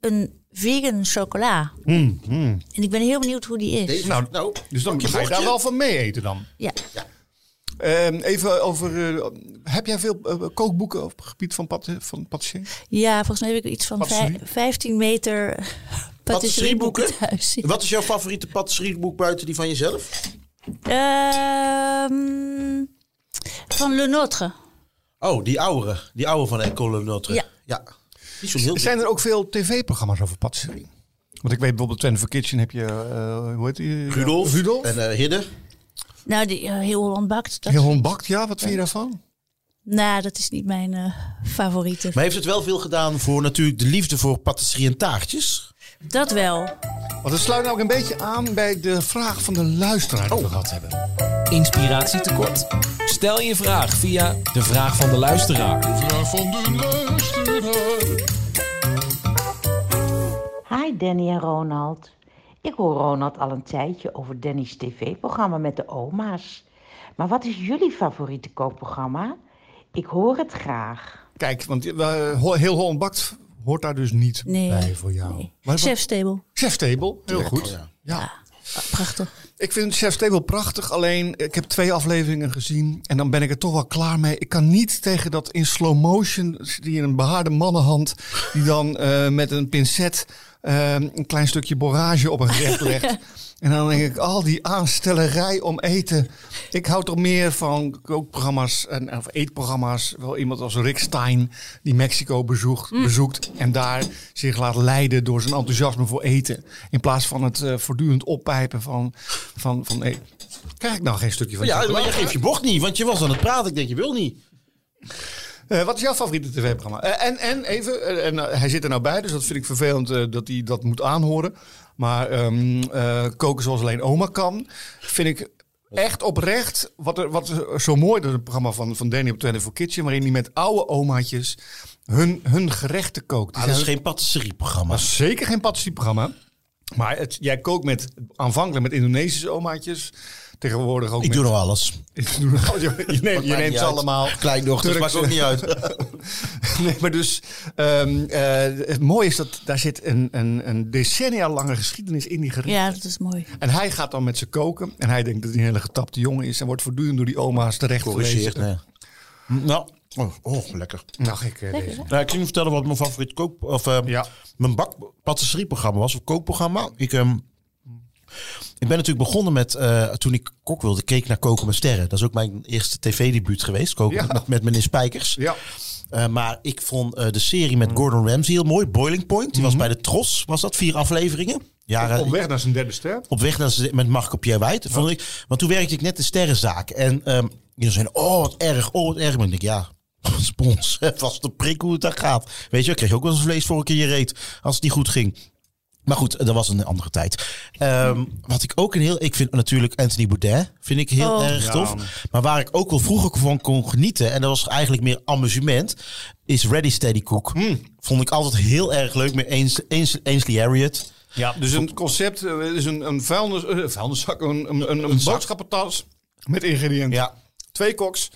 een vegan chocola. Mm, mm. En ik ben heel benieuwd hoe die is. Nou, dus dan ga je daar wel van mee eten dan. Ja. Ehm, even over, eh, heb jij veel eh, kookboeken op het gebied van, pat, van patissier? ja, volgens mij heb ik iets van Patisserie? vij- 15 meter patisserieboeken Patisserieboeken? thuis. Wat is jouw favoriete patisserieboek buiten die van jezelf? Ehm, van Le Notre. Oh, die oude. Die oude van Ecole Notre. Ja. ja. Die is zo heel... Zijn er ook veel tv-programma's over patisserie? Want ik weet bijvoorbeeld, Ten for Kitchen heb je, eh, hoe heet die? Rudolf. Rudolf. En eh Hidde. Nou, die, eh, heel Holland bakt. Dat, Heel ontbakt, ja. Wat vind je daarvan? Nou, dat is niet mijn eh, favoriete. Maar heeft het wel veel gedaan voor natuurlijk de liefde voor patisserie en taartjes? Dat wel. Want het sluit nou ook een beetje aan bij de vraag van de luisteraar die we gehad hebben. Inspiratie tekort? Stel je vraag via de vraag van de luisteraar. Hi Danny en Ronald. Ik hoor Ronald al een tijdje over Danny's tv-programma met de oma's. Maar wat is jullie favoriete kookprogramma? Ik hoor het graag. Kijk, want eh, ho- heel Holland bakt hoort daar dus niet Nee. bij voor jou. Nee. Maar- Chef's Table. Ah, Chef Table, heel goed. Ja. Prachtig. Ik vind Chef Table prachtig, alleen ik heb twee afleveringen gezien en dan ben ik er toch wel klaar mee. Ik kan niet tegen dat in slow motion die een behaarde mannenhand die dan eh, met een pincet eh, een klein stukje borage op een gerecht legt. En dan denk ik, al die aanstellerij om eten. Ik hou toch meer van kookprogramma's en of eetprogramma's. Wel iemand als Rick Stein, die Mexico bezoekt, bezoekt en daar zich laat leiden door zijn enthousiasme voor eten. In plaats van het eh, voortdurend oppijpen van, van, van eh, Krijg ik nou geen stukje van Ja, Ah, chocola? maar je geeft je bocht niet, want je was aan het praten. Ik denk, je wil niet. Eh, wat is jouw favoriete tv-programma? Eh, en, en even, eh, en, eh, hij zit er nou bij, dus dat vind ik vervelend eh, dat hij dat moet aanhoren. Maar ehm, eh, koken zoals alleen oma kan, vind ik echt oprecht. Wat, er, wat er zo mooi dat het programma van, van Danny op 24 Kitchen, waarin hij met oude omaatjes hun, hun gerechten kookt. Die Ah, dat is Ah, zijn- geen patisserieprogramma. was zeker geen patisserieprogramma. Maar het, jij kookt met, aanvankelijk met Indonesische omaatjes. Tegenwoordig ook Ik met... Oh, doe nog alles. je neemt, je Maakt neemt niet ze uit. allemaal. Kleindochters, Turkse- maakt ook niet uit. Nee, maar dus ehm, eh, het mooie is dat daar zit een, een, een decennia lange geschiedenis in die gerechten. Ja, dat is mooi. En hij gaat dan met ze koken en hij denkt dat hij een hele getapte jongen is en wordt voortdurend door die oma's terecht Corrigeert, geweest. nee. Nou, oh, oh, lekker. Nou, gek eh, deze. Nou, ik ging je vertellen wat mijn favoriet kook... Of eh, Ja. mijn bakpatisserieprogramma was, of kookprogramma. Ik, ehm, ik ben natuurlijk begonnen met, eh, toen ik kok wilde, keek ik naar Koken met Sterren. Dat is ook mijn eerste tv-debuut geweest, koken Ja. met, met meneer Spijkers. Ja, Eh, maar ik vond eh, de serie met Gordon Ramsay heel mooi, Boiling Point. Die was bij de Tros, was dat, vier afleveringen. Jaren, Mhm. op weg naar zijn derde ster. op weg naar ze- met Marco Pierre Wijd. Vond ik, want toen werkte ik net in Sterrenzaak. En ehm die zeiden, oh wat erg, oh wat erg. Maar ik denk, ja, spons, vast de prik hoe het daar gaat. Weet je, wel, kreeg je ook wel eens vlees voor een keer je reet. Als het niet goed ging. Maar goed, dat was een andere tijd. Ehm, wat ik ook een heel... Ik vind natuurlijk Anthony Baudet vind ik heel Oh. erg Ja, man. tof. Maar waar ik ook wel vroeger van kon genieten... en dat was eigenlijk meer amusement... is Ready Steady Cook. Hmm. Vond ik altijd heel erg leuk. Met Ains- Ains- Ainsley Harriet. Ja, dus een concept eh, is een, een vuilnis, eh, vuilniszak, een, een, een, een boodschappentas met ingrediënten. Ja, Twee koks,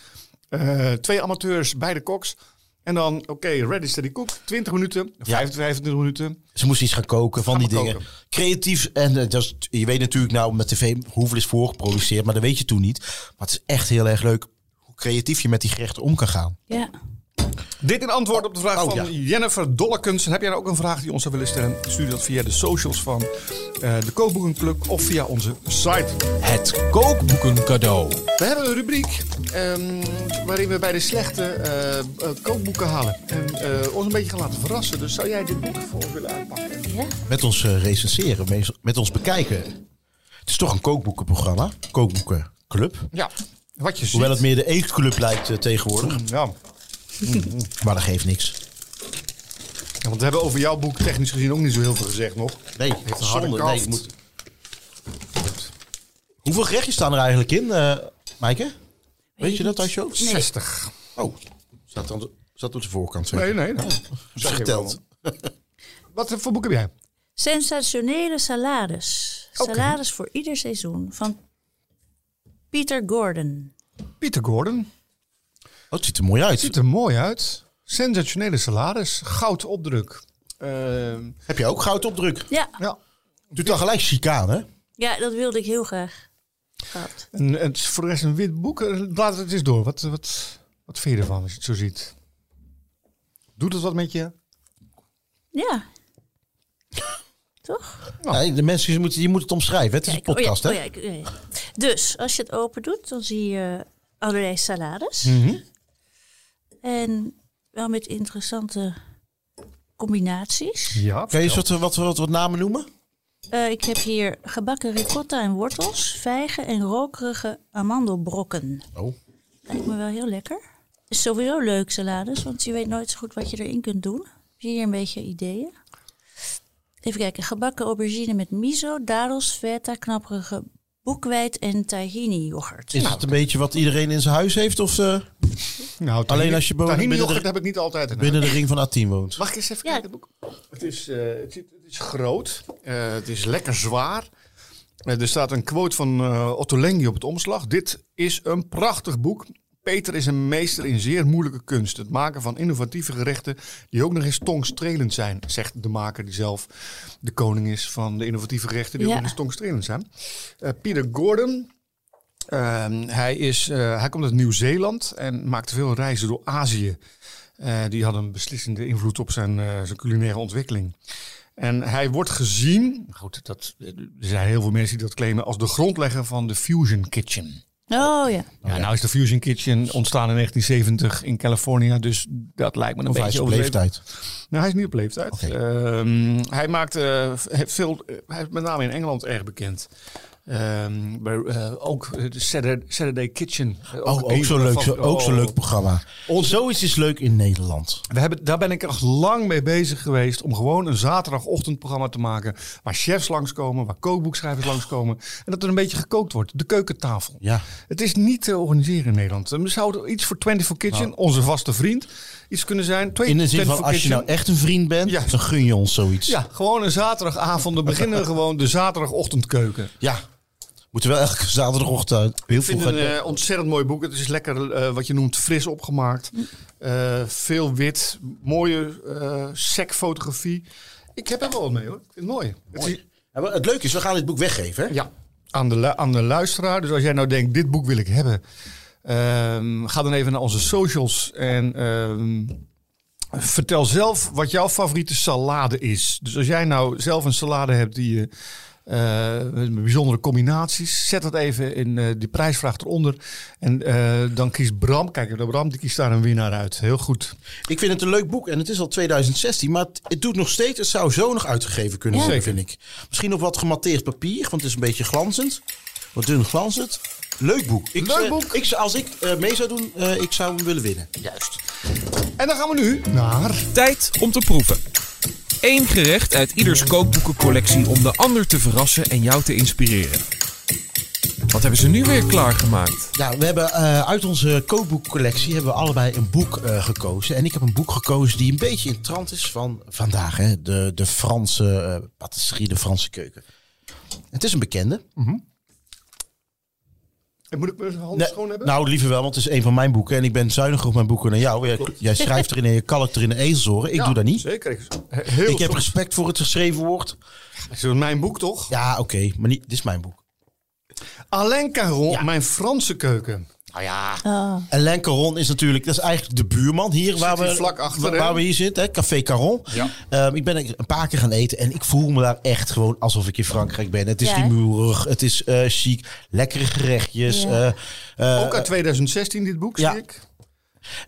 eh, twee amateurs, beide koks. En dan, oké, ready, steady, cook. 20 minuten, 25, 25 minuten. Ze moest iets gaan koken van Gaan die maar dingen. koken. Creatief. En eh, dat is- je weet natuurlijk nou met tv hoeveel is voorgeproduceerd. Maar dat weet je toen niet. Maar het is echt heel erg leuk hoe creatief je met die gerechten om kan gaan. Ja. Dit in antwoord op de vraag Oh, van ja. Jennifer Dollekens. En Heb jij nou ook een vraag die je ons zou willen stellen? Stuur dat via de socials van eh, de Kookboekenclub of via onze site. Het kookboeken cadeau. We hebben een rubriek ehm, waarin we bij de slechte eh, eh, kookboeken halen. En eh, ons een beetje gaan laten verrassen. Dus zou jij dit boek voor ons willen aanpakken? Met ons eh, recenseren, met- met ons bekijken. Het is toch een kookboekenprogramma. Kookboekenclub. Ja, wat je ziet. Hoewel het meer de eetclub lijkt eh, tegenwoordig. Ja, Maar dat geeft niks. want we hebben over jouw boek technisch gezien ook niet zo heel veel gezegd nog. Nee, Heeft een harde zonde. kaft. Nee, je moet... Hoeveel gerechtjes staan er eigenlijk in, eh Maaike? Weet je dat, als je 60. Oh, zat, aan de, zat op de voorkant. zeg. Nee, nee, nee. Zo Zeg je geteld. wel. Wat voor boek heb jij? Sensationele salades. Salades voor ieder seizoen van Peter Gordon. Pieter Gordon. Oh, het ziet er mooi uit. Ziet er mooi uit. Sensationele salaris. Goud opdruk. Ehm, Heb je ook goud opdruk? Ja, ja. Doet dan gelijk chicane. hè? ja dat wilde ik heel graag. Gehad. En het is voor de rest een wit boek. Eh, Laat het eens door. Wat, wat, wat vind je ervan als je het zo ziet? Doet het wat met je? Ja. Toch? Oh. Nee, de mensen die moeten, die moeten het omschrijven. Het is Kijk, een oh ja, podcast, oh ja, ik- ja, ja. Dus als je het open doet, dan zie je allerlei Mhm. salades. En wel met interessante combinaties. Ja, Kan je eens wat, wat, wat, wat namen noemen? Eh, ik heb hier gebakken ricotta en wortels, vijgen en rokerige amandelbrokken. Oh. Lijkt me wel heel lekker. Is sowieso leuk salades, want je weet nooit zo goed wat je erin kunt doen. Heb je hier een beetje ideeën? Even kijken, gebakken aubergine met miso, dadels, feta, knapperige boekweit en tahini yoghurt. Nou. Is het een beetje wat iedereen in zijn huis heeft of eh, Nou, Alleen als je boven- binnen binnen de- yoghurt heb ik niet altijd in binnen de ring van A10 woont? Mag ik eens even Ja. kijken? Boek? Het, is, eh, het, ziet- het is groot. Eh, het is lekker zwaar. Eh, er staat een quote van eh, Otto Lengi op het omslag. Dit is een prachtig boek. Peter is een meester in zeer moeilijke kunst. Het maken van innovatieve gerechten die ook nog eens tongstrelend zijn, zegt de maker die zelf de koning is van de innovatieve gerechten die Ja. ook nog eens tongstrelend zijn. Eh, Peter Gordon, Ehm, hij, is, eh, hij komt uit Nieuw-Zeeland en maakte veel reizen door Azië. Eh, die hadden een beslissende invloed op zijn, eh, zijn culinaire ontwikkeling. En hij wordt gezien, goed, dat, eh, er zijn heel veel mensen die dat claimen, als de grondlegger van de Fusion Kitchen. Oh ja. Ja, nou is de Fusion Kitchen ontstaan in 1970 in Californië, dus dat lijkt me een Of hij is beetje op overdreven. leeftijd? Nou, hij is niet op leeftijd. Ehm, hij maakt eh, heeft veel, hij is met name in Engeland erg bekend. Ehm, bij, eh, ook eh, de Saturday, Saturday Kitchen. Eh, Oh, een ook game zo'n leuk, van- zo, ook zo'n oh. leuk programma. Zoiets is leuk in Nederland. We hebben, daar ben ik echt lang mee bezig geweest om gewoon een zaterdagochtendprogramma te maken. Waar chefs langskomen, waar kookboekschrijvers langskomen. En dat er een beetje gekookt wordt. De keukentafel. Ja. Het is niet te organiseren in Nederland. Er zou er iets voor 24 Kitchen, onze vaste vriend, iets kunnen zijn. Twee, In de zin van, 24 als je nou Kitchen. echt een vriend bent, Ja. dan gun je ons zoiets. Ja, gewoon een zaterdagavond. Dan beginnen we gewoon de zaterdagochtendkeuken. ja. Moeten wel elke zaterdagochtend uit. Heel Ik vind vroeg het uit een bed. eh, ontzettend mooi boek. Het is lekker, eh, wat je noemt, fris opgemaakt. Eh, veel wit, mooie eh sekfotografie. Ik heb er wel wat mee hoor. Ik vind het mooi. Het is- Mooi. Ja, maar het leuke is, we gaan dit boek weggeven. hè? ja, aan de, lu- aan de luisteraar. Dus als jij nou denkt, dit boek wil ik hebben. ehm, ga dan even naar onze socials en ehm, vertel zelf wat jouw favoriete salade is. Dus als jij nou zelf een salade hebt die je... eh, met bijzondere combinaties. Zet dat even in eh, die prijsvraag eronder. En eh, dan kiest Bram. Kijk, de Bram die kiest daar een winnaar uit. Heel goed. Ik vind het een leuk boek en het is al 2016, maar het, het doet nog steeds. Het zou zo nog uitgegeven kunnen Ja. worden, Zeker. vind ik. Misschien op wat gematteerd papier, want het is een beetje glanzend. Wat dun glanzend. Leuk boek. Ik, Leuk eh, boek. Ik, zou- als ik eh, mee zou doen, eh, ik zou hem willen winnen. Juist. En dan gaan we nu naar... Tijd om te proeven. Eén gerecht uit ieders kookboekencollectie om de ander te verrassen en jou te inspireren. Wat hebben ze nu weer klaargemaakt? Ja, we hebben eh, uit onze kookboekcollectie hebben we allebei een boek eh, gekozen. En ik heb een boek gekozen die een beetje in trant is van vandaag. Hè? De, de Franse eh patisserie, de Franse keuken. Het is een bekende. Eh, Moet ik mijn handen Nee, schoon hebben? nou, liever wel, want het is een van mijn boeken. En ik ben zuiniger op mijn boeken dan jou. Jij, jij schrijft erin en je kalkt er in de ezelsoren. Ik Ja, doe dat niet. Zeker. Heel ik heb soms- respect voor het geschreven woord. Dat is mijn boek toch? Ja, oké, maar niet, dit is mijn boek. Alain Caron, Ja. mijn Franse keuken. Nou ja, Oh. Alain Caron is natuurlijk, dat is eigenlijk de buurman hier waar hier we, vlak achter, waar, waar hè? we hier zitten, hè? Café Caron. Ja. Ehm, ik ben er een paar keer gaan eten en ik voel me daar echt gewoon alsof ik in Frankrijk ben. Het is Ja, die hè? murig, het is eh chic, lekkere gerechtjes. Ja. eh, eh, ook uit 2016 dit boek, ja. zie ik.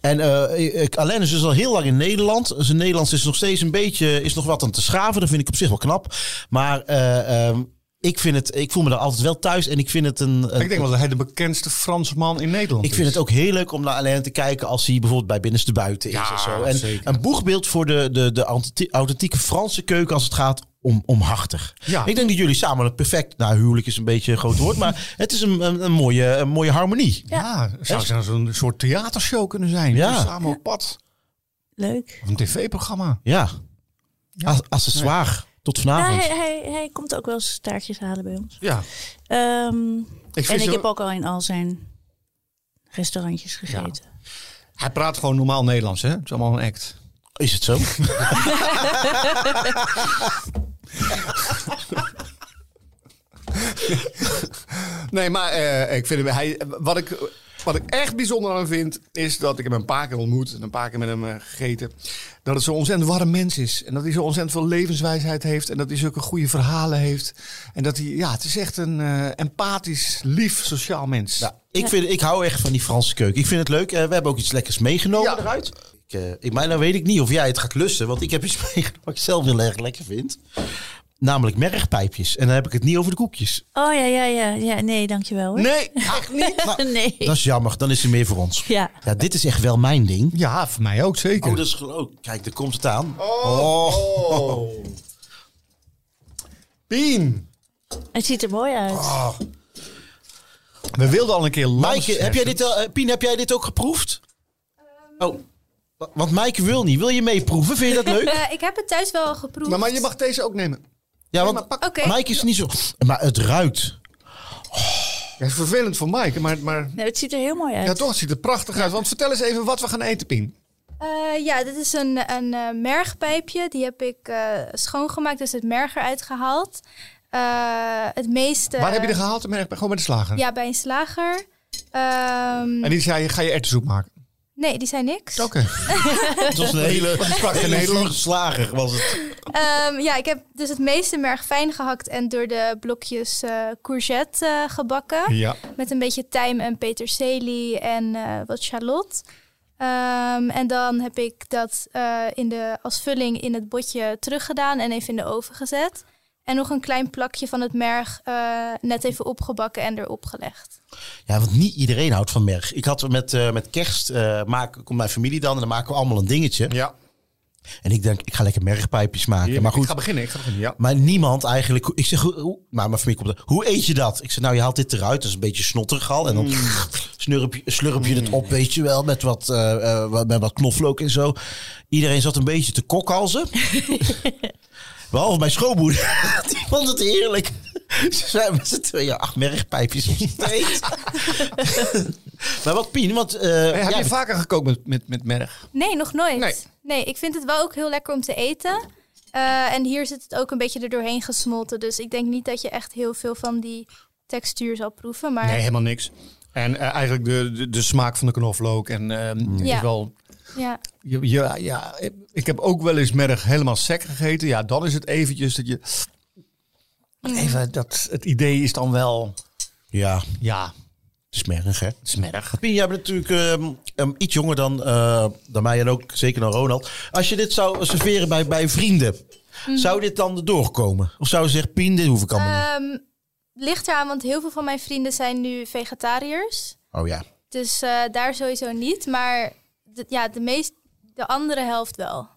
En eh, ik- Alain is dus al heel lang in Nederland. Zijn Nederlands is nog steeds een beetje, is nog wat aan te schaven. Dat vind ik op zich wel knap. Maar eh, ehm, ik, vind het, ik voel me daar altijd wel thuis. En ik vind het een. een- Ik denk wel dat hij de bekendste Fransman in Nederland ik is. vind het ook heel leuk om naar Alain te kijken als hij bijvoorbeeld bij Binnenste Buiten is. Ja, of zo. En zeker. een boegbeeld voor de, de, de authentie- authentieke Franse keuken als het gaat om, om hartig. Ja. Ik denk dat jullie samen het perfect, nou huwelijk is een beetje een groot woord, maar het is een, een, een mooie, een mooie harmonie. Ja, zou het nou zo'n soort theatershow kunnen zijn? Ja. Dus Samen op pad. Leuk. Of een tv-programma. Ja, As- accessoire. Tot Ja, vanavond. Nou, hij, hij, hij komt ook wel eens taartjes halen bij ons. Ja. Ehm, Ik en vind ik zo- heb ook al in al zijn restaurantjes gegeten. Hij praat gewoon normaal Nederlands, hè? Het is allemaal een act. Is het zo? Nee, maar eh, ik vind hem, hij, wat, ik, wat ik echt bijzonder aan hem vind, is dat ik hem een paar keer ontmoet en een paar keer met hem eh, gegeten. Dat het zo'n ontzettend warm mens is. En dat hij zo ontzettend veel levenswijsheid heeft. En dat hij zulke goede verhalen heeft. En dat hij, ja, het is echt een eh, empathisch, lief, sociaal mens. Ja, ik, vind, ik hou echt van die Franse keuken. Ik vind het leuk. Eh, we hebben ook iets lekkers meegenomen Ja. eruit. Ik, eh, ik, maar dan weet ik niet of jij het gaat lusten, want ik heb iets meegenomen wat ik zelf heel erg lekker vind. Namelijk mergpijpjes. En dan heb ik het niet over de koekjes. Oh ja, ja, ja. ja nee, dankjewel. Hoor. Nee. Ach, niet? Nou, Nee. Dat is jammer, dan is er meer voor ons. Ja. Ja, dit is echt wel mijn ding. Ja, voor mij ook zeker. Oh, dat is geloof. Kijk, daar komt het aan. Oh. Pien, Het ziet er mooi uit. Oh. we wilden al een keer langs. Maaike, heb jij dit, al- eh, Pien, heb jij dit ook geproefd? Ehm. Oh, wa- want Maaike wil niet. Wil je meeproeven? Vind je dat leuk? Eh, ik heb het thuis wel geproefd. Maar, maar je mag deze ook nemen. Ja, Nee, want maar pak- Oké. Maaike is niet zo... Maar het ruikt. Ja, het is vervelend voor Maaike, maar, maar Nee, het ziet er heel mooi uit. ja, toch, het ziet er prachtig uit. Want vertel eens even wat we gaan eten, Pien. Eh, ja, dit is een, een eh, mergpijpje. Die heb ik eh, schoongemaakt, dus het merg eruit gehaald. Eh, het meeste... Waar heb je er gehaald? Ik merk- Gewoon bij de slager. Ja, bij een slager. Ehm, En die zei, ga je erwtensoep maken? Nee, die zijn niks. Oké. Het was een hele... Sprak Een hele Nederland. slager was het. Ehm, ja, ik heb dus het meeste merg fijn gehakt en door de blokjes eh, courgette eh, gebakken. Ja. Met een beetje tijm en peterselie en eh, wat shallot. Ehm, en dan heb ik dat eh, in de, als vulling in het botje teruggedaan en even in de oven gezet. En nog een klein plakje van het merg eh, net even opgebakken en erop gelegd. Ja, want niet iedereen houdt van merg. Ik had met, eh, met kerst, eh maak, komt mijn familie dan en dan maken we allemaal een dingetje. Ja. En ik denk, ik ga lekker mergpijpjes maken. Hier, maar goed, Ik ga beginnen, ik ga beginnen, Eh, ja. Maar niemand eigenlijk. Ik zeg, hoe, hoe- maar mijn familie komt er. Hoe eet je dat? Ik zeg, nou, je haalt dit eruit. Dat is een beetje snotterig al. En Mm. dan slurp, je, slurp je het op, weet je wel. Met wat, eh, eh, wat- met wat knoflook en zo. Iedereen zat een beetje te kokhalzen. Behalve mijn schoonmoeder. Die vond het heerlijk. Ze zijn met z'n tweeën acht mergpijpjes op z'n eten. maar wat Pien, want... eh, Hey, heb jij je vaker gekookt met, met, met merg? Nee, nog nooit. Nee. ik vind het wel ook heel lekker om te eten. Eh, en hier zit het ook een beetje erdoorheen gesmolten. Dus ik denk niet dat je echt heel veel van die textuur zal proeven. Maar Nee, helemaal niks. En eh, eigenlijk de, de, de smaak van de knoflook en ehm, het is Mm. Ja. wel... ja. Ja, ja, ja, ik heb ook wel eens merg helemaal sec gegeten. Ja, dan is het eventjes dat je... Mm. Even, dat, het idee is dan wel... Ja, Ja, smerig hè. smerig. Pien, jij bent natuurlijk ehm, ehm, iets jonger dan, eh, dan mij en ook zeker dan Ronald. Als je dit zou serveren bij, bij vrienden, zou dit dan erdoor komen? Of zou je zeggen, Pien, dit hoef ik allemaal niet? Ehm, ligt eraan, want heel veel van mijn vrienden zijn nu vegetariërs. Oh ja. Dus eh, daar sowieso niet. Maar de, ja, de, meest, de andere helft wel.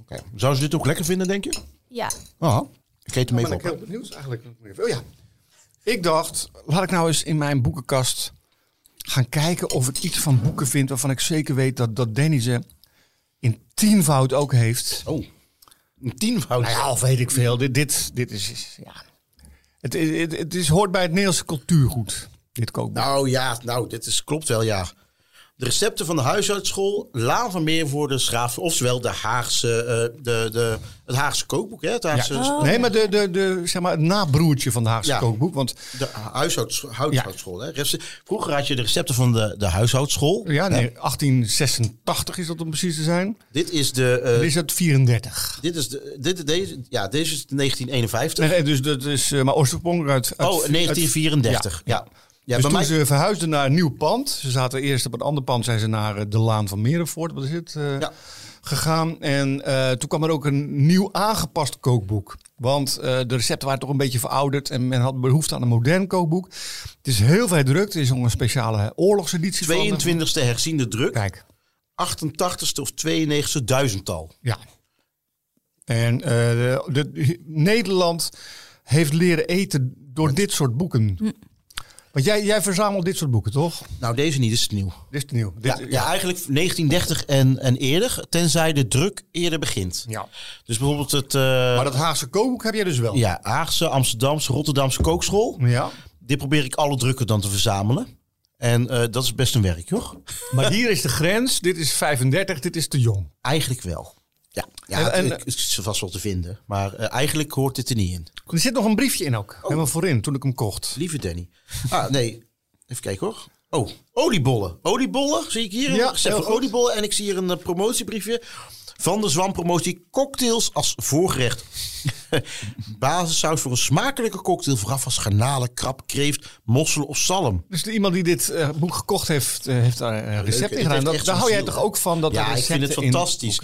Oké. Zou ze dit ook lekker vinden, denk je? Ja. Ah, ik eet hem ben even ik op. heel benieuwd eigenlijk. Oh ja. Ik dacht, laat ik nou eens in mijn boekenkast gaan kijken of ik iets van boeken vind waarvan ik zeker weet dat, dat Danny ze in tienvoud ook heeft. Oh, een tienvoud. Nou ja, of weet ik veel. Dit, dit, dit is, is- ja. Het, is- het, het is, hoort bij het Nederlandse cultuurgoed, dit kookboek. Nou ja, nou, dit is, klopt wel, ja. De recepten van de huisartschool, Laan van Meervoorde, Schraaf, ofwel de Haagse, eh, de, de, het Haagse kookboek, hè? Het Haagse, Ja. Nee, maar, de, de, de, zeg maar het nabroertje van de Haagse Ja. kookboek. Want De huishouds, huishoudschool. Hè? Rece- Vroeger had je de recepten van de, de huishoudschool. ja, nee, 1886 is dat om precies te zijn. Dit is de. eh, Dan is het 34. dit is de. Dit, deze, ja, deze is 1951. Nee, nee, dus dat is eh, maar oorspronkelijk uit, uit oh, 1934. ja. ja. ja. dus bij toen mij, ze verhuisden naar een nieuw pand. Ze zaten eerst op een ander pand, zijn ze naar eh, de Laan van Merenvoort, wat is het, eh, Ja. gegaan. En eh, toen kwam er ook een nieuw aangepast kookboek. Want eh, de recepten waren toch een beetje verouderd en men had behoefte aan een modern kookboek. Het is heel veel druk. Er is nog een speciale eh, oorlogseditie van. 22e herziende druk. Kijk, 88ste of 92ste duizendtal. ja. En eh, de, de- Nederland heeft leren eten door dit soort boeken. Want jij, jij verzamelt dit soort boeken, toch? Nou, deze niet, dit is nieuw. Dit is nieuw. Ja, Dit, ja, eigenlijk 1930 en, en eerder, tenzij de druk eerder begint. Ja. Dus bijvoorbeeld het eh, Maar dat Haagse kookboek heb jij dus wel. ja, Haagse, Amsterdamse, Rotterdamse kookschool. Ja. Dit probeer ik alle drukken dan te verzamelen. En eh, dat is best een werk, hoor. Maar hier is de grens. Dit is 35, dit is te jong. Eigenlijk wel. Ja, ja En- het- en- het, is vast wel te vinden. Maar eh, eigenlijk hoort dit er niet in. Er Oh. zit nog een briefje in ook. Helemaal voorin, toen ik hem kocht. Lieve Danny. Ah, nee. Even kijken hoor. Oh, oliebollen. Oliebollen zie ik hier. Ja, Ja, recept heel voor goed. oliebollen. En ik zie hier een eh, promotiebriefje van de Zwam Promotie. Cocktails als voorgerecht. Basissaus voor een smakelijke cocktail vooraf als garnalen, krab, kreeft, mossel of zalm. Dus de- iemand die dit eh, boek gekocht heeft, eh, heeft daar een recept in Het gedaan. heeft Dat, echt daar zo'n hou jij ziel, toch hè? ook van? Dat er ja, ik vind het recepten in- fantastisch.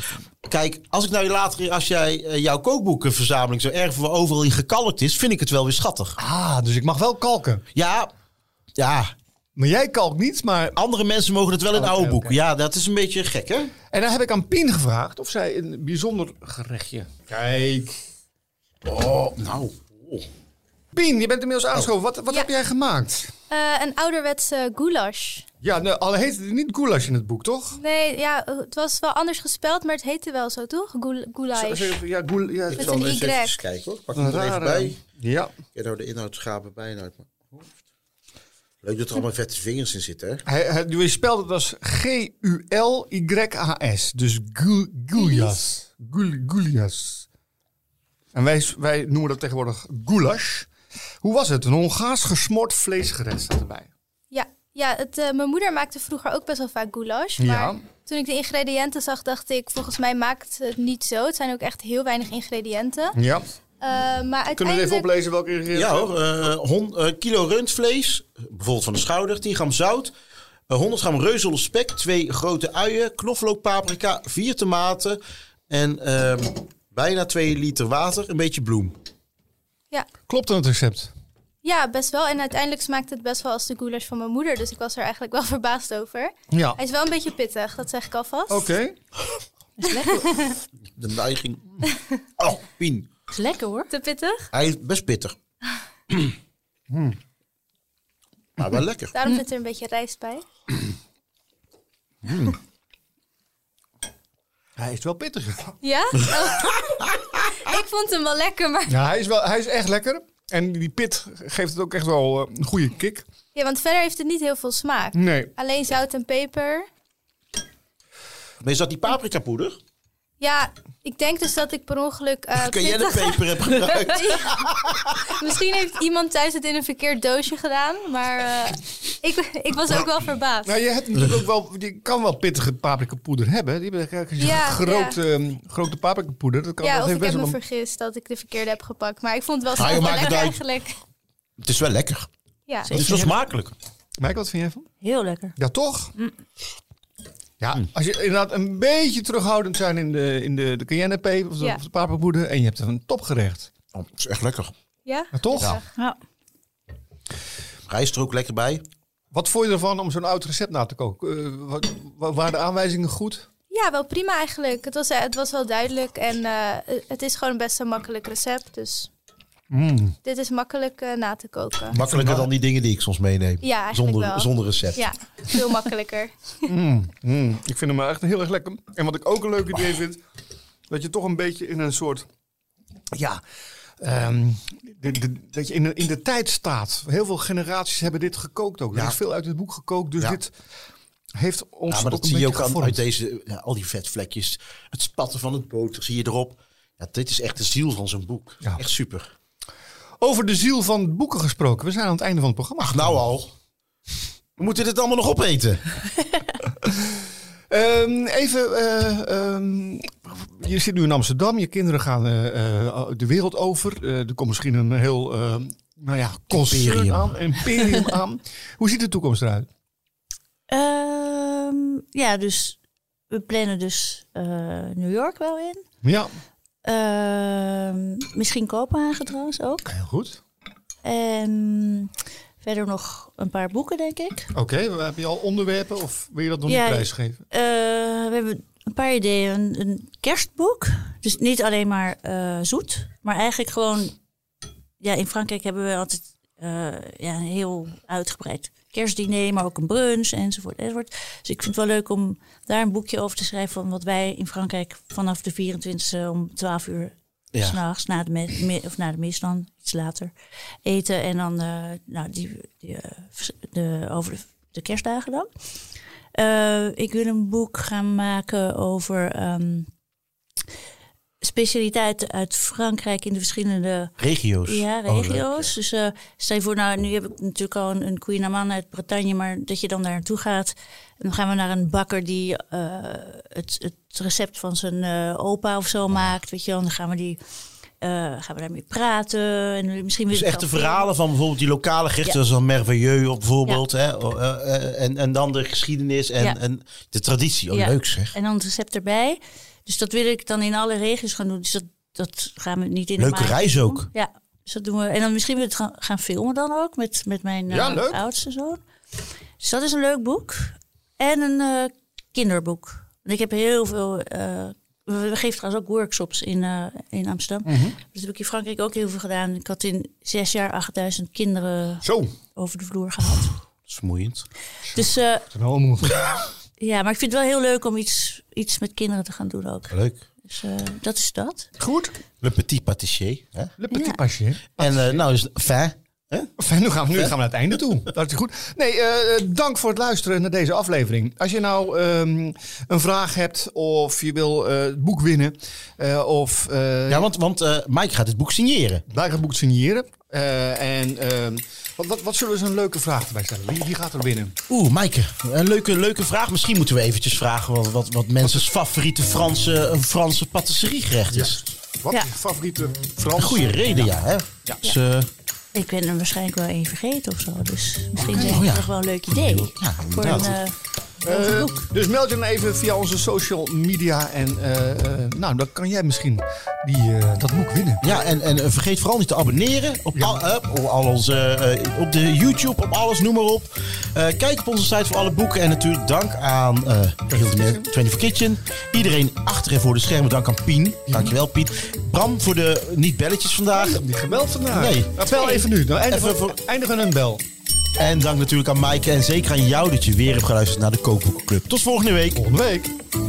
Kijk, als ik nou later, als jij eh, jouw kookboekenverzameling zo erg voor overal in gekalkt is, vind ik het wel weer schattig. Ah, dus ik mag wel kalken. Ja, ja. Maar jij kalkt niet, maar... Andere mensen mogen het wel in Oké, oude boeken. oké. Ja, dat is een beetje gek, hè? En dan heb ik aan Pien gevraagd of zij een bijzonder gerechtje... Kijk. Oh, nou. Oh. Pien, je bent inmiddels aangeschoven. Wat, wat Ja. heb jij gemaakt? Eh, een ouderwetse goulash. Ja, nou, al heet het niet goulash in het boek, toch? Nee, ja, het was wel anders gespeld, maar het heette wel zo, toch? Goul- Goulash. Zo- zo- Ja, goul, ja, Met een Y. kijken hoor. Pak een rare... Ja. Ik nou de inhoud schapen bijna uit mijn hoofd. Leuk dat er allemaal vette vingers in zitten, hè? Hij, hij, je spelt het als G-U-L-Y-H-S. Dus gul- Gulyas. Gul- Gulyas. En wij, wij noemen dat tegenwoordig goulash. Hoe was het? Een Hongaars gesmoord vleesgerecht staat erbij. Ja, ja het, eh, mijn moeder maakte vroeger ook best wel vaak goulash. Maar Ja. toen ik de ingrediënten zag, dacht ik, volgens mij maakt het niet zo. Het zijn ook echt heel weinig ingrediënten. Ja. Eh, maar Kunnen we uiteindelijk... even oplezen welke ingrediënten? Ja hoor, eh, hon- eh, kilo rundvlees, bijvoorbeeld van de schouder, 10 gram zout, eh, 100 gram reuzel of spek, twee grote uien, knoflook, paprika, vier tomaten en ehm, bijna 2 liter water, een beetje bloem. ja. Klopt dan het recept? ja, best wel. En uiteindelijk smaakte het best wel als de goulash van mijn moeder. Dus ik was er eigenlijk wel verbaasd over. Ja. Hij Oké. is wel een beetje pittig, dat zeg ik alvast. De neiging... Oh, Pien. Is lekker hoor. Te pittig. Hij is best pittig. Hmm. Maar wel lekker. Daarom zit er een beetje rijst bij. Hij is wel pittig. Ja? Oh. ik vond hem wel lekker, maar... Ja, hij is, wel, hij is echt lekker. En die pit geeft het ook echt wel eh, een goede kick. Ja, want verder heeft het niet heel veel smaak. Nee. Alleen zout en peper. Maar is dat die paprika poeder? Ja, ik denk dus dat ik per ongeluk. eh, Kun jij de pittig- peper hebben gebruikt? Misschien heeft iemand thuis het in een verkeerd doosje gedaan, maar eh, ik, ik was ook wel verbaasd. Nou, je hebt natuurlijk ook wel, je kan wel pittige paprikapoeder hebben. Die hebben eigenlijk een Ja, grote, ehm, grote paprikapoeder. Dat kan ja, dat of heeft ik heb best me wel een- vergist dat ik de verkeerde heb gepakt. Maar ik vond het Ah, wel je zo maakt het lekker uit. eigenlijk. Het is wel lekker. Ja. Het is wel smakelijk. Mike, wat vind jij van? Heel lekker. Ja, toch? Mm. Ja, als je inderdaad een beetje terughoudend zijn in de, in de, de cayennepeper of de, Ja. of de paprikapoeder. En je hebt een topgerecht. Oh, het is echt lekker. ja? Ja, toch? Ja. Ja. Rijst er ook lekker bij. Wat vond je ervan om zo'n oud recept na te koken? Eh, wat- wa- waren de aanwijzingen goed? Ja, wel prima eigenlijk. Het was, eh, het was wel duidelijk en eh, het is gewoon best een makkelijk recept. Dus Mm. dit is makkelijk eh, na te koken. Makkelijker dan die dingen die ik soms meeneem. Ja, eigenlijk zonder, wel. zonder recept. Ja, veel makkelijker. Mm, ik vind hem echt heel erg lekker. En wat ik ook een leuk idee vind, dat je toch een beetje in een soort. Ja. ehm, de- de- dat je in de, in de tijd staat. Heel veel generaties hebben dit gekookt ook. Er Ja. is veel uit het boek gekookt, dus Ja. dit heeft ons. Ja, maar ook dat een zie je beetje ook aan, gevormd. uit deze, ja, al die vetvlekjes. Het spatten van het boter zie je erop. Ja, dit is echt de ziel van zo'n boek. Ja. Echt super. Over de ziel van boeken gesproken. We zijn aan het einde van het programma. Ach, nou al. We moeten dit allemaal nog opeten. Ehm, even, eh, ehm, je zit nu in Amsterdam, je kinderen gaan eh, eh, de wereld over. Eh, er komt misschien een heel, eh, nou ja, concern Imperium. aan, imperium aan. Hoe ziet de toekomst eruit? Ehm, ja, dus we plannen dus eh, New York wel in. Ja, Ehm, misschien Kopenhagen trouwens ook. heel goed. En verder nog een paar boeken, denk ik. Oké, we heb je al onderwerpen of wil je dat nog Ja, niet prijsgeven? Eh, we hebben een paar ideeën. Een, een kerstboek. Dus niet alleen maar eh, zoet, maar eigenlijk gewoon. Ja, in Frankrijk hebben we altijd eh, ja, een heel uitgebreid kerstdiner, maar ook een brunch enzovoort, enzovoort. Dus ik vind het wel leuk om daar een boekje over te schrijven van wat wij in Frankrijk vanaf de 24e om 12 uur Ja. s'nachts, na de, me- me- of na de mis dan, iets later, eten. En dan eh, nou, die, die, eh, vers- de, over de, de kerstdagen dan. Eh, ik wil een boek gaan maken over ehm, specialiteiten uit Frankrijk in de verschillende Regio's. ja, Oh, leuk. regio's. dus eh, stel je voor, nou, nu heb ik natuurlijk al een, een koeien aan man uit Bretagne, maar dat je dan daar naartoe gaat. En dan gaan we naar een bakker die eh, het, het recept van zijn eh, opa of zo maakt. Weet je wel, En dan gaan we die. eh, gaan we daarmee praten? En misschien Dus weer echt de verhalen van bijvoorbeeld die lokale gerechten, zoals een merveilleux op bijvoorbeeld. Hè? Oh, eh, eh, en, en dan de geschiedenis en, Ja. en de traditie. Oh, Ja. leuk zeg. En dan het recept erbij. Dus dat wil ik dan in alle regio's gaan doen. Dus dat, dat gaan we niet in de Leuke maand reis doen. ook. Ja, dus dat doen we. En dan misschien we het gaan, gaan filmen dan ook met, met mijn eh, Ja, leuk. oudste zoon. Dus dat is een leuk boek. En een eh, kinderboek. Want ik heb heel veel... eh, we we geven trouwens ook workshops in, eh, in Amsterdam. Mhm. Dat heb ik in Frankrijk ook heel veel gedaan. Ik had in zes jaar 8000 kinderen Zo. over de vloer gehad. Dat is vermoeiend. Dus eh, Nou, allemaal- ja, maar ik vind het wel heel leuk om iets, iets met kinderen te gaan doen ook. Leuk. Dus eh, dat is dat. Goed. Le petit patissier. Hè? Le petit Ja. pasje. En eh, nou is fijn. Enfin, nu gaan we, nu gaan we naar het einde toe. Dat is goed. Nee, eh, eh, dank voor het luisteren naar deze aflevering. Als je nou ehm, een vraag hebt of je wil eh, het boek winnen eh, of eh, Ja, want, want eh, Mike gaat het boek signeren. wij gaan het boek signeren. Eh, en ehm, wat, wat, wat zullen we eens een leuke vraag erbij stellen? Wie, wie gaat er winnen? Oeh, Maaike, een leuke, leuke vraag. Misschien moeten we eventjes vragen wat, wat, wat mensen's favoriete Franse, een Franse patisseriegerecht is. Wat Ja. is je favoriete Een Frans? goede reden, ja. hè? Dus, eh, Ik ben er waarschijnlijk wel één vergeten of zo. Dus misschien Oké. zijn Oh, het ja. nog wel een leuk idee. ja, Voor een, inderdaad. eh, Eh, dus meld je dan even via onze social media. En eh, eh, nou, dan kan jij misschien die, eh, dat boek winnen. Ja, en, en eh, vergeet vooral niet te abonneren op, al, eh, op al onze, eh, op de YouTube, op alles, noem maar op. Eh, kijk op onze site voor alle boeken. En natuurlijk dank aan eh heel veel mensen, 24 Kitchen. Iedereen achter en voor de schermen. Dank aan Pien. Dankjewel, Piet. Bram voor de niet-belletjes vandaag. Die gebeld vandaag. Nee. Nou, bel even nu. Dan eindigen, Even we- eindigen we een bel. En dank natuurlijk aan Maaike en zeker aan jou dat je weer hebt geluisterd naar de Kookboekenclub. Tot volgende week. Volgende week.